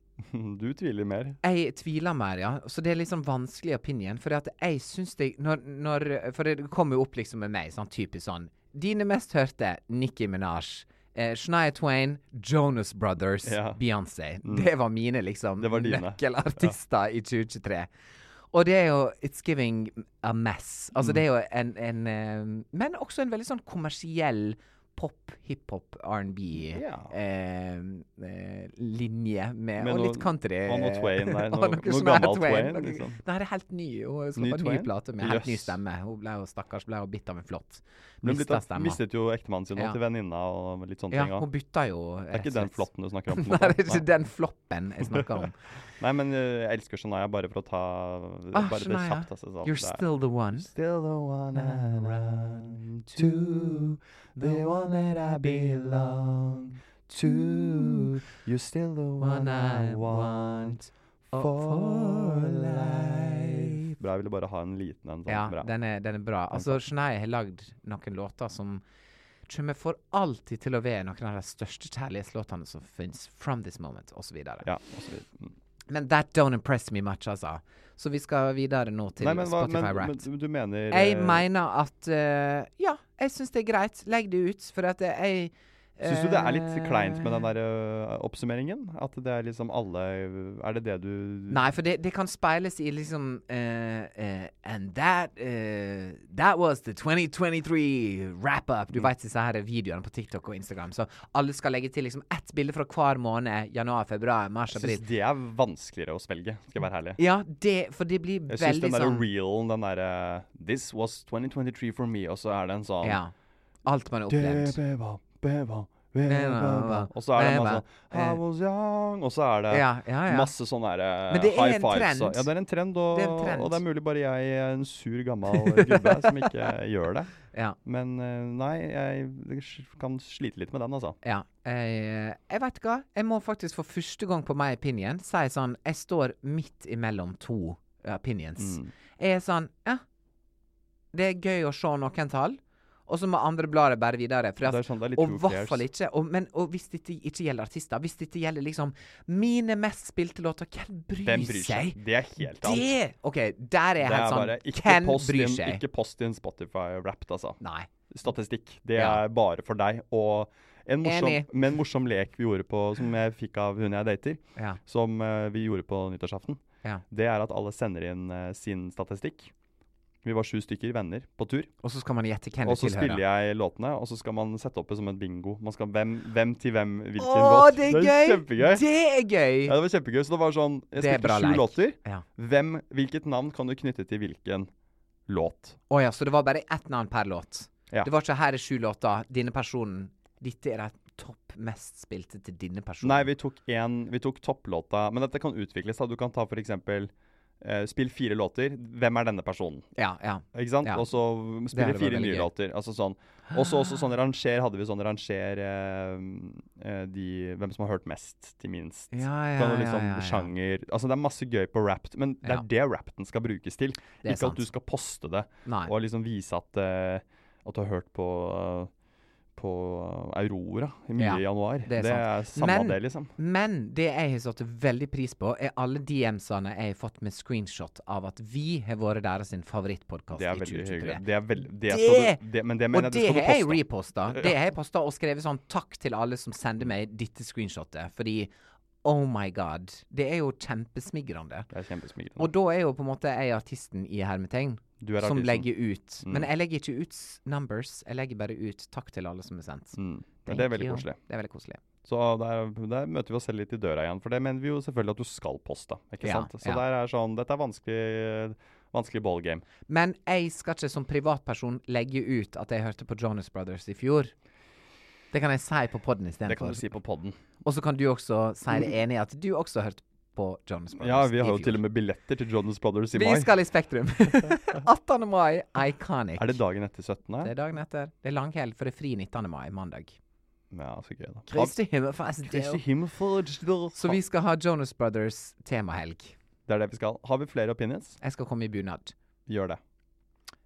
B: Du tviler mer.
C: jeg tviler mer, ja. Så det er litt sånn vanskelig opinion. For at jeg syns det når, når, For det kommer jo opp liksom med meg, sånn typisk sånn Dine mest hørte Nicki Minaj. Eh, Shania Twain, Jonas Brothers,
B: Ja. Mm.
C: Beyoncé. Det var mine liksom
B: Det var dine.
C: nøkkelartister i 2023. Og det er jo It's giving a mess.
B: Mm.
C: Altså det er jo en, en eh, Men også en veldig sånn kommersiell pop, hiphop, R&B
B: Ja.
C: eh, eh, linje med,
B: Med
C: og
B: noe-
C: litt country.
B: og noe Twain der,
C: Og
B: noe- noe
C: Shania
B: gammel Twain,
C: noe-
B: liksom.
C: Nei, det er helt ny. Hun
B: Ny
C: skapa ny
B: Twain?
C: plate med helt ny
B: Jøss.
C: stemme. Hun ble jo stakkars ble jo bitt av en flått.
B: Hun blitt,
C: Mista stemma.
B: mistet jo ektemannen sin nå
C: Ja.
B: til venninna og litt sånne
C: Ja,
B: ting.
C: hun
B: også.
C: bytta jo eh,
B: Det er ikke den flotten du snakker om? på en
C: Nei,
B: måte.
C: det er ikke den floppen jeg snakker om.
B: Nei, men eh, jeg elsker Shania bare for å ta
C: Ah,
B: Bare det
C: Shania.
B: kjapt. Altså, sånn.
C: You're
B: Det er-
C: still the one.
B: Still the one I run to, the one that I belong to. You're still the one I want for life. Bra, jeg ville bare ha en liten en. Sånn.
C: Ja,
B: Bra.
C: den er, den er bra. Altså, Shania har lagd noen låter som kommer for alltid til å være noen av de største kjærlighetslåtene som fins. From This Moment, osv. videre
B: Ja, og så videre. Mm.
C: Men that don't impress me much, altså. Så vi skal videre nå til
B: Nei, men, hva, men,
C: Spotify
B: men
C: Wrapped.
B: du- du mener
C: Jeg
B: eh,
C: mener at eh, Ja, jeg syns det er greit. Legg det ut, for at jeg
B: Syns du det er litt
C: eh,
B: kleint med den der ø, oppsummeringen? At det er liksom alle Er det det du
C: Nei, for det, det kan speiles i liksom eh, eh, And that eh, That was the 2023 wrap-up.
B: Mm.
C: Du vet disse her videoene på TikTok og Instagram. Så alle skal legge til liksom ett bilde fra hver måned. Januar, februar, mars,
B: Jeg syns
C: april.
B: det er vanskeligere å svelge, skal jeg være ærlig.
C: Ja, det, for det blir
B: Jeg syns
C: veldig
B: den derre
C: sånn
B: realen, den derre This was 2023 for me, og så er det en sånn
C: Ja. Alt man har opplevd.
B: Debeva, beva,
C: Beva,
B: beva. Og så er det
C: beva,
B: masse sånn I was young Og så er det
C: Eh. Ja, ja, ja.
B: masse sånn derre
C: Men det er
B: high
C: en
B: fives.
C: trend.
B: og- Ja, det er en trend, og,
C: Det er en trend.
B: og det er mulig bare jeg er en sur, gammel gubbe som ikke gjør det.
C: Ja.
B: Men ø, nei, jeg sj- kan slite litt med den, altså.
C: Ja. Jeg, jeg vet hva. Jeg må faktisk for første gang på my opinion si sånn Jeg står midt imellom to opinions.
B: Mm.
C: Jeg er sånn Ja, det er gøy å se noen tall, og så må andre bla det bare videre. For
B: Det
C: at,
B: er sånn, det er litt
C: og
B: who
C: i hvert
B: cares.
C: fall ikke. Og, men, og hvis dette ikke gjelder artister, hvis dette gjelder liksom mine mest spilte låter, hvem bryr,
B: Hvem bryr seg?
C: seg?
B: Det er helt annet.
C: Det OK, der
B: Det
C: er jeg
B: er
C: helt sånn
B: bare ikke
C: Hvem
B: post,
C: bryr
B: inn,
C: seg?
B: ikke post inn Spotify Wrapped, altså.
C: Nei.
B: Statistikk. Det
C: Ja.
B: er bare for deg. Og en morsom,
C: Enig.
B: med en morsom lek vi gjorde på, som jeg fikk av hun jeg dater,
C: Ja.
B: som eh, vi gjorde på nyttårsaften,
C: ja.
B: det er at alle sender inn eh, sin statistikk. Vi var sju stykker venner på tur,
C: Og så skal man gjette hvem
B: og
C: det
B: så spiller
C: tilhører.
B: jeg låtene. Og så skal man sette opp det som en bingo. Man skal hvem, hvem til hvem, hvilken
C: Å,
B: låt.
C: det er gøy!
B: kjempegøy!
C: Det er gøy!
B: Ja, det var kjempegøy. Så det var sånn Jeg
C: Det er
B: spilte
C: bra
B: sju
C: leik.
B: låter.
C: Ja.
B: Hvem, hvilket navn kan du knytte til hvilken låt?
C: Å ja, så det var bare ett navn per låt.
B: Ja.
C: Det var ikke 'her er sju låter', denne personen. Dette er de topp mest spilte til denne personen.
B: Nei, vi tok, en, vi tok topplåta, men dette kan utvikles. da. Du kan ta for eksempel eh, Spill fire låter. Hvem er denne personen?
C: Ja, ja.
B: Ikke sant?
C: Ja.
B: Og så
C: hadde
B: spille
C: vært
B: fire
C: veldig
B: nye
C: gøy.
B: låter. Altså sånn. Og så også sånn ranger hadde vi sånn ranger eh, eh, de, hvem som har hørt mest til minst.
C: Ja, ja,
B: Kan du
C: ja,
B: liksom
C: ja, ja.
B: Sjanger Altså det er masse gøy på Wrapped, men det er
C: Ja.
B: det Wrappeden skal brukes til.
C: er
B: Ikke
C: sant.
B: at du skal poste det
C: Nei.
B: og liksom vise at, eh, at du har hørt på eh, på Aurora mye
C: Ja,
B: i januar.
C: det er sant.
B: samme
C: Men-
B: det, liksom.
C: Men det jeg har satt veldig pris på, er alle DMs-ene jeg har fått med screenshot av at vi har vært deres favorittpodkast
B: Det
C: i
B: er veldig hyggelig.
C: 2023.
B: Det er veld, det
C: Det-
B: skal du, det, men det mener jeg
C: Og det
B: det skal
C: har jeg
B: du poste.
C: reposta. Det har jeg posta og skrevet sånn takk til alle som sender meg dette screenshotet, fordi oh my god. Det er jo kjempesmigrende.
B: Det er kjempesmigrende.
C: Og da er jo på en måte jeg artisten i hermetegn.
B: Du er
C: som
B: artisten. Mm.
C: legger ut. Men jeg legger ikke ut s- numbers. Jeg legger bare ut takk til alle som er sendt.
B: Mm. Men
C: Thank
B: det er veldig
C: you.
B: koselig.
C: Det er veldig koselig.
B: Så der, der møter vi oss selv litt i døra igjen, for det mener vi jo selvfølgelig at du skal poste. ikke
C: Ja,
B: sant? Så
C: ja.
B: der er sånn, dette er vanskelig, vanskelig ballgame.
C: Men jeg skal ikke som privatperson legge ut at jeg hørte på Jonas Brothers i fjor. Det kan jeg si på poden
B: Det kan
C: istedenfor.
B: du si på podden.
C: Og så kan du også si deg enig i at du også hørte på Jonas Brothers
B: Ja, vi har jo
C: i fjor.
B: til og med billetter til Jonas Brothers i
C: Vi
B: mai.
C: skal i Spektrum. 18. mai, Iconic.
B: Er det dagen etter 17.?
C: Det er dagen etter. Det er langhelg, for det er fri 19. mai, mandag.
B: Ja, så gøy, da.
C: Kristi himmelfest, det er jo-
B: Kristi Himmelfart.
C: Så vi skal ha Jonas Brothers temahelg.
B: Det er det vi skal. Har vi flere opinions?
C: Jeg skal komme i bunad.
B: Gjør det.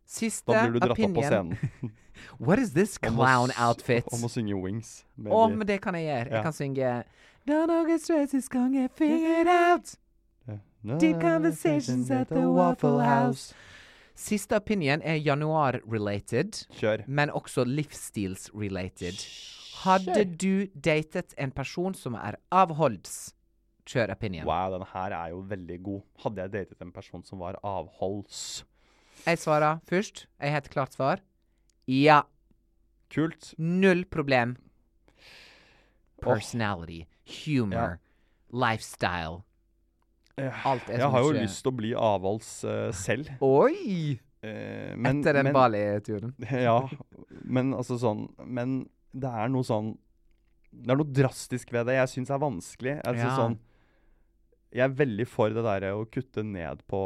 C: Siste
B: Da blir du dratt opp på
C: opinion.
B: scenen.
C: What is this
B: Om å
C: clown
B: s-
C: outfit?
B: Om å synge Wings. med
C: Å,
B: de-
C: men det kan jeg gjøre.
B: Ja.
C: Jeg kan synge Don't know get stressed, it's gonna get figured out.
B: Ja. No
C: Deep conversations at the Waffle House. Siste opinion er januar-related,
B: Kjør.
C: men også livsstils-related. Hadde du datet en person som er avholds? Kjør opinion.
B: Wow, den her er jo veldig god. Hadde jeg datet en person som var avholds
C: Jeg svarer først. Jeg har et klart svar. Ja.
B: Kult.
C: Null problem. Personality, humor, lifestyle.
B: Eh,
C: Alt er
B: Jeg
C: som
B: har jo
C: ikke-
B: lyst til å bli avholds eh, selv.
C: Oi!
B: Eh, men,
C: Etter den
B: men-
C: Bali-turen.
B: Ja, men altså sånn Men det er noe sånn Det er noe drastisk ved det jeg syns er vanskelig. Altså
C: Ja.
B: sånn jeg er veldig for det der å kutte ned på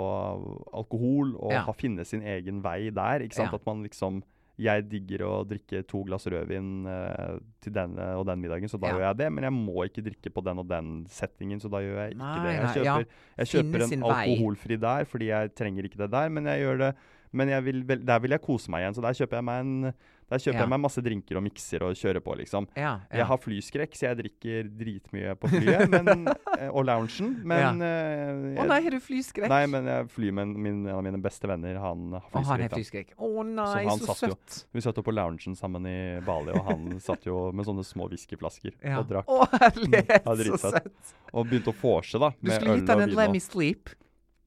B: alkohol og
C: Ja.
B: ha, finne sin egen vei der. ikke sant?
C: Ja.
B: At man liksom Jeg digger å drikke to glass rødvin eh, til den eh, og den middagen, så da
C: Ja.
B: gjør jeg det. Men jeg må ikke drikke på den og den settingen, så da gjør jeg ikke
C: Nei,
B: det. Jeg
C: nei, ja.
B: kjøper, jeg kjøper
C: Finne
B: en
C: sin vei.
B: alkoholfri der fordi jeg trenger ikke det der, men jeg gjør det Men jeg vil, vel- der vil jeg kose meg igjen, så der kjøper jeg meg en der kjøper
C: Ja.
B: jeg meg masse drinker og mikser og kjører på, liksom.
C: Ja,
B: Jeg har flyskrekk, så jeg drikker dritmye på flyet men, eh, og loungen. Men eh,
C: Å
B: jeg-
C: nei, har du flyskrekk?
B: Nei, men jeg flyr med en, min, en av mine beste venner. Han har
C: Å, han
B: flyskrekk.
C: har
B: da.
C: flyskrekk. Å nei,
B: han
C: så
B: satt jo-
C: søtt.
B: Vi satt jo på loungen sammen i Bali, og han satt jo med sånne små whiskyflasker
C: Ja.
B: og drakk.
C: Å herlighet,
B: Ja,
C: så
B: dritsøtt.
C: søtt.
B: Og begynte å vorse, da.
C: Du
B: Med
C: skulle
B: øl
C: gitt han
B: og
C: en Let
B: vin.
C: Me
B: Og.
C: Sleep.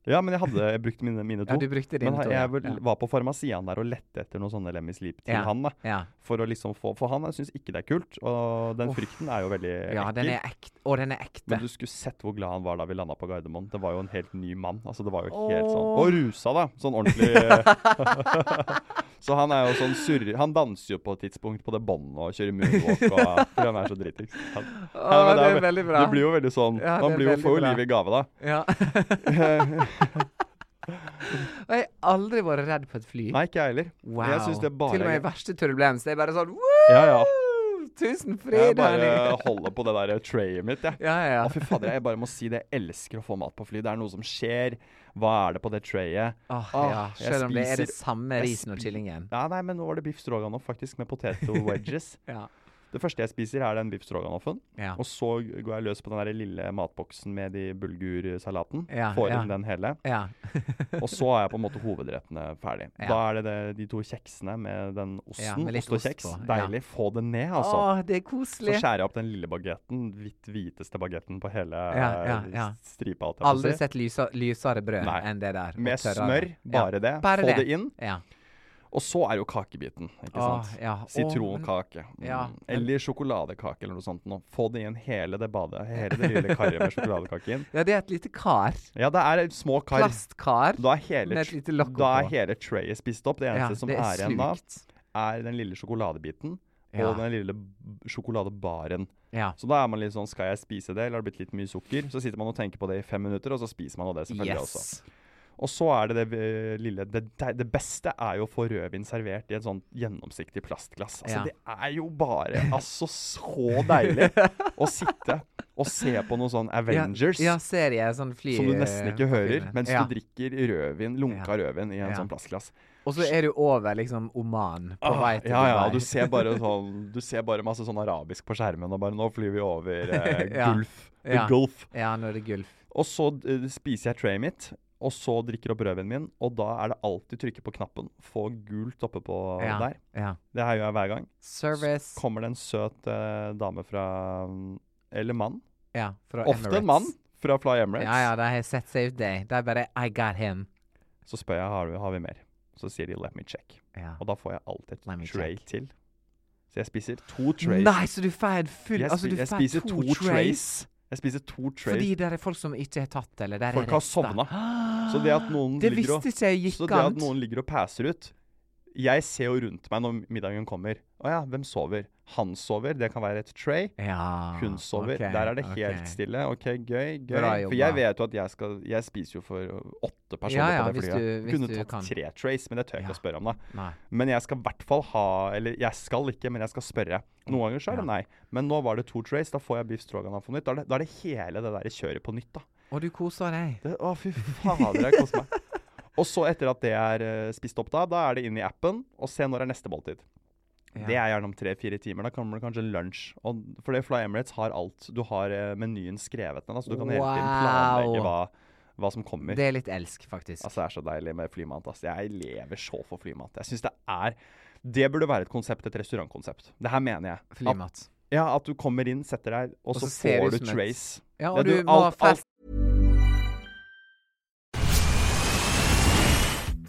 B: Ja, men jeg hadde jeg brukte mine, mine to.
C: Ja, du brukte
B: men
C: dine
B: jeg, jeg
C: to, ja.
B: vel-
C: Ja.
B: var på farmasian der og lette etter noen sånne Lemmy Sleep til
C: Ja.
B: han. da.
C: Ja.
B: For å liksom få, for han syns ikke det er kult, og den frykten er jo veldig
C: ja, den er ekte. Og den er ekte.
B: Men du skulle sett hvor glad han var da vi landa på Gardermoen. Det var jo en helt ny mann. altså det var jo helt sånn,
C: Åh.
B: Og rusa, da. Sånn ordentlig. så han er jo sånn surre... Han danser jo på et tidspunkt på det båndet og kjører moonwalk. Og, fordi han er så dritings. Han,
C: Å,
B: men
C: det
B: jo
C: er
B: ve-
C: veldig bra.
B: Det blir jo veldig sånn.
C: Ja, det
B: man
C: er
B: blir jo,
C: veldig
B: får jo
C: bra.
B: liv i gave, da.
C: Ja. Og jeg har aldri vært redd på et fly.
B: Nei, ikke jeg heller.
C: Wow.
B: Jeg syns det bare
C: Til og med i verste turbulens. Det er bare sånn Woo!
B: Ja, ja.
C: Tusen
B: Jeg
C: fred,
B: bare
C: Henning.
B: holder på det der trayet mitt, jeg.
C: Ja, ja.
B: Å, fy fader, jeg bare må si det. Jeg elsker å få mat på fly. Det er noe som skjer. Hva er det på det trayet?
C: Åh,
B: Åh,
C: ja.
B: jeg
C: Selv om det er det
B: spiser-
C: samme
B: jeg
C: risen og
B: spi-
C: kyllingen.
B: Ja, nei, men nå var det biff stroganoff faktisk, med potato wedges.
C: Ja.
B: det første jeg spiser, er den biff stroganoffen.
C: Ja.
B: Og så går jeg løs på den der lille matboksen med de bulgursalaten.
C: Ja,
B: Får
C: ja.
B: inn den hele.
C: ja.
B: Og så er jeg på en måte hovedrettene ferdig.
C: Ja.
B: Da er det, det de to kjeksene med den osten.
C: Ja, med litt
B: ost og
C: ost
B: kjeks.
C: på, ja.
B: Deilig. Få det ned, altså.
C: Åh, det er
B: Så
C: koselig.
B: skjærer jeg opp den lille bagetten, hvitt hviteste bagetten på hele
C: Ja, ja,
B: eh,
C: ja.
B: stripa. alt jeg får
C: Aldri
B: si.
C: sett lysa, lysere brød
B: Nei.
C: enn det der. og
B: Med
C: tørrere.
B: smør, bare det.
C: Bare
B: Få det inn. Ah,
C: Ja.
B: Og så er jo kakebiten, ikke
C: Åh,
B: sant.
C: ja. Åh,
B: Sitronkake. Mm.
C: ja, men-
B: Eller sjokoladekake eller noe sånt. Nå. Få det inn hele det badet, hele det lille karret med sjokoladekake inn.
C: Ja, det er et lite kar.
B: Ja, det er små kar.
C: Plastkar.
B: Da er hele,
C: med et
B: tr-
C: lite lokk
B: da er
C: oppå.
B: hele trayet spist opp. Det
C: Ja,
B: eneste som
C: det
B: er,
C: er
B: igjen da,
C: slukt.
B: er den lille sjokoladebiten.
C: Ja.
B: Og den lille b- sjokoladebaren.
C: Ja.
B: Så da er man litt sånn Skal jeg spise det, eller har det blitt litt mye sukker? Så sitter man og tenker på det i fem minutter, og så spiser man av det selvfølgelig også.
C: Yes.
B: Og så er det det eh, lille Det, det det beste er jo å få rødvin servert i et sånt gjennomsiktig plastglass. Altså,
C: Ja.
B: Det er jo bare altså så deilig å sitte og se på noe sånn Avengers.
C: Ja, ja serie. Sånn fly...
B: Som du nesten ikke hører, mens
C: ja.
B: du drikker rødvin, lunka rødvin i en
C: Ja.
B: sånn plastglass.
C: Og så er du over liksom Oman, på
B: Ah,
C: vei til
B: ja, ja,
C: Dubai.
B: og du ser bare sånn Du ser bare masse sånn arabisk på skjermen, og bare 'Nå flyr vi over eh,
C: Ja.
B: Gulf'. The
C: Ja.
B: Gulf.
C: Ja, når det er gulf.
B: Og så eh, spiser jeg trayet mitt, og så drikker opp rødvinen min, og da er det alltid trykke på knappen. Få gult oppe på
C: Ja.
B: der.
C: Ja.
B: Det her gjør jeg hver gang.
C: Service.
B: Kommer det en søt eh, dame fra mm, Eller mann.
C: Ja, fra
B: Ofte en
C: Emirates.
B: mann fra Fly Emirates.
C: Ja, ja, de har sett Save Day. De bare I got him.
B: Så spør jeg har vi har vi mer. Så sier de 'let me check'.
C: Ja.
B: Og da får jeg alltid
C: Let me
B: et tray
C: check.
B: til. Så jeg spiser to trays.
C: Nei, så du får en full
B: Jeg,
C: Altså,
B: spi-
C: du
B: jeg
C: får
B: spiser
C: to, trays.
B: Jeg spiser to trays.
C: Fordi det er folk som ikke har tatt, eller der er
B: Folk har
C: rester.
B: sovna. Så det at noen
C: Det
B: ligger og
C: visste ikke jeg gikk
B: Så det at noen ligger og passer ut Jeg ser jo rundt meg når middagen kommer. Å ja, hvem sover? Han sover, det kan være et tray.
C: Ja,
B: Hun sover.
C: Ah, ok,
B: Der er det
C: ok.
B: helt stille. OK, gøy, gøy.
C: Bra
B: For
C: jobba.
B: jeg vet jo at jeg skal Jeg spiser jo for åtte personer
C: Ja, ja,
B: på det
C: hvis
B: flyet.
C: du- hvis
B: Kunne
C: du
B: tatt
C: kan.
B: tre trays, men det tør jeg
C: Ja.
B: ikke å spørre om, da.
C: Nei.
B: Men jeg skal i hvert fall ha Eller jeg skal ikke, men jeg skal spørre. Noen ganger så er det nei. Men nå var det to trays, da får jeg biff stroganoff på nytt. Da er, det, da er det hele det der kjøret på nytt, da.
C: Og du koser deg.
B: Det, å, fy fader, jeg koser meg. Og så etter at det er eh, spist opp, da, da er det inn i appen og se når er neste måltid.
C: Ja.
B: Det er gjerne om tre-fire timer. Da kommer det kanskje lunsj. Og fordi Fly Emirates har alt. Du har eh, menyen skrevet ned, da, så du kan hele tiden planlegge hva,
C: Wow.
B: hva som kommer.
C: Det er litt elsk, faktisk.
B: Altså, det er så deilig med flymat. Ass. Jeg lever så for flymat. Jeg synes det er Det burde være et konsept, et restaurantkonsept. Det her mener jeg. At,
C: Flymat.
B: ja, at du kommer inn, setter deg, og,
C: Og
B: så,
C: så ser
B: får du
C: du som et-
B: trace.
C: Ja,
B: Ja,
C: og
B: du,
C: du, må ha
B: alt- alt-
C: fast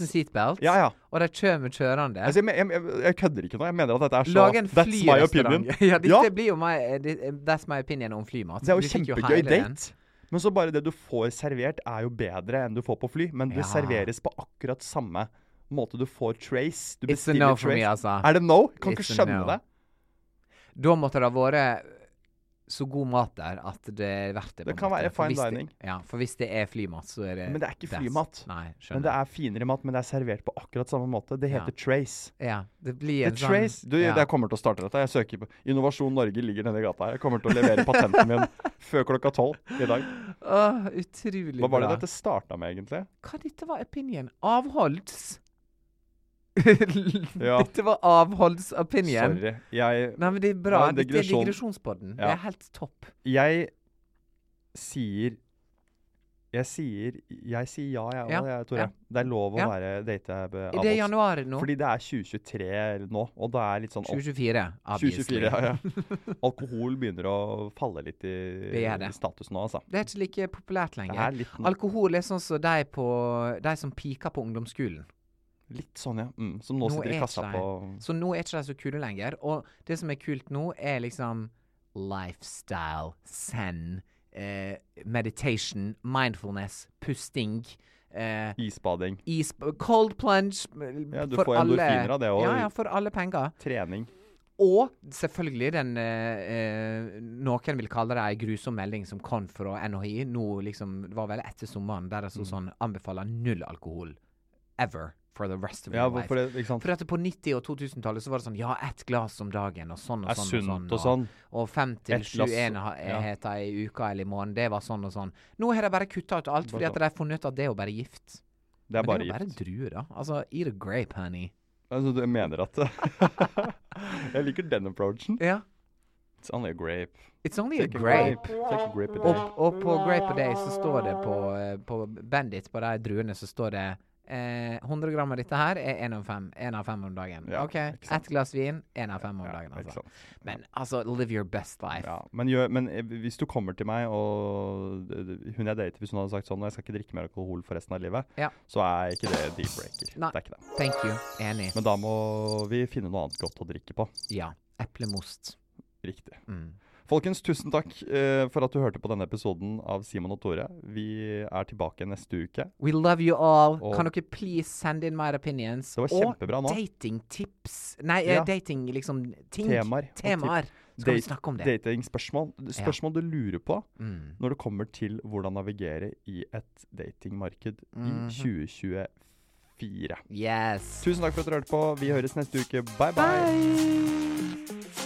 C: seatbelt,
B: Ja, ja.
C: og de kommer kjørende.
B: Altså, jeg, me- jeg, jeg, jeg kødder ikke nå. Jeg mener at dette er så
C: Lage en
B: That's my opinion.
C: flyrestaurant. ja, det,
B: Ja,
C: det blir jo my, det, that's my opinion om flymat.
B: det er
C: Vi
B: jo
C: fikk
B: kjempegøy
C: hele den.
B: date. Men så bare det du får servert, er jo bedre enn du får på fly. Men det
C: Ja.
B: serveres på akkurat samme måte du får trace. Du
C: It's a
B: bestiller
C: no for me,
B: trace.
C: altså.
B: Er det no? Kan
C: It's
B: ikke
C: a
B: skjønne
C: no.
B: det.
C: Da måtte det ha vært så god mat der at det er verdt det. på
B: Det
C: en
B: kan
C: måte.
B: være
C: For
B: fine
C: hvis det-
B: dining.
C: Ja, for hvis det er flymat, så er det
B: Men det er ikke
C: best.
B: flymat.
C: Nei,
B: Men det
C: skjønner.
B: er finere mat, men det er servert på akkurat samme måte. Det heter trace.
C: Ja, det blir
B: The
C: en sånn
B: Trace. Du,
C: ja.
B: Jeg kommer til å starte dette. Jeg søker på Innovasjon Norge ligger nedi gata her. Jeg kommer til å levere patenten min før klokka tolv i dag.
C: Åh, utrolig
B: Hva var det
C: bra.
B: dette starta med, egentlig?
C: Hva dette var opinion? Avholds?
B: Ja.
C: Dette var avholds opinion.
B: Sorry. Jeg,
C: Nei, men det er bra.
B: Det var en
C: Dette er
B: digresjon.
C: digresjonspodden. Det
B: Ja.
C: er helt topp.
B: jeg sier Jeg sier Jeg sier ja, jeg òg,
C: Ja,
B: jeg, Tore.
C: ja.
B: Det er lov å
C: Ja.
B: være date eh,
C: Det er januar nå.
B: Fordi det er 2023 nå, og da er litt sånn
C: 2024. obviously.
B: 2024, ja, ja. Alkohol begynner å falle litt i,
C: Det er
B: i
C: det.
B: status nå, altså.
C: Det er ikke like populært
B: Det
C: lenger.
B: er litt,
C: Alkohol er sånn som de, på, de som piker på ungdomsskolen.
B: litt sånn, ja. Mm, som nå,
C: Nå
B: sitter
C: er
B: i kassa
C: ikke
B: på
C: Så nå er ikke de så kule lenger. Og det som er kult nå, er liksom lifestyle, zen, eh, meditation, mindfulness, pusting. Eh,
B: isbading,
C: is, cold plunge m-
B: Ja, du
C: for
B: får
C: alle-
B: endorfiner av det, og-
C: Ja, ja, for alle penger.
B: trening.
C: Og selvfølgelig den eh, eh, Noen vil kalle det ei grusom melding som kom fra NHI. Nå liksom, Det var vel etter sommeren der det sto
B: Mm.
C: sånn anbefaler null alkohol ever for the rest of
B: Ja,
C: your life.
B: for det, ikke sant?
C: For at på 90- og 2000-tallet så var det sånn ja, ett glass om dagen og sånn og
B: Er
C: sånn.
B: sunt og
C: og
B: sånn.
C: Og fem til
B: Ett
C: sju
B: glass, ja.
C: enheter i uka eller i måneden. Det var sånn og sånn. Nå har de bare kutta ut alt fordi
B: Bare
C: at de har funnet ut at det er jo bare gift.
B: Det er
C: Men
B: bare
C: det er jo
B: gift.
C: bare druer, da. Altså, eat a grape, honey.
B: Altså, du mener at Jeg liker den approachen.
C: Ja.
B: It's only a grape.
C: It's only a Oh.
B: Take a
C: grape.
B: grape. Take a grape a
C: Og,
B: day.
C: og på Grape A Day så står det på, eh, på Bandit, på de druene, så står det eh, 100 gram av dette her er 1 av 5, av fem om dagen.
B: Ja,
C: OK.
B: ikke sant.
C: Ett glass vin, 1 av 5 om
B: Ja,
C: dagen.
B: ikke
C: Altså.
B: sant.
C: Men altså, live your best life.
B: Ja, men, gjør, men eh, hvis du kommer til meg og d- d- hun jeg dater, hvis hun hadde sagt sånn Og jeg skal ikke drikke mer alkohol for resten av livet,
C: Ja.
B: så er ikke det deal breaker.
C: Nei.
B: Det er ikke det.
C: Thank you. Enig.
B: Men da må vi finne noe annet godt å drikke på.
C: Ja. Eplemost.
B: Riktig.
C: Mm.
B: Folkens, tusen takk eh, for at du hørte på denne episoden av Simon og Tore. Vi er tilbake neste uke.
C: We love you all.
B: Og-
C: kan dere please send in my opinions?
B: Det var kjempebra nå.
C: Og datingtips. Nei, eh,
B: Ja.
C: dating liksom ting.
B: Temaer og
C: Temaer. Så kan vi
B: Date-
C: snakke om det.
B: Datingspørsmål. Spørsmål du lurer på
C: Mm.
B: når det kommer til hvordan navigere i et datingmarked
C: Mhm.
B: i 2024.
C: Yes.
B: Tusen takk for at dere hørte på. Vi høres neste uke. Bye, bye.
C: Bye.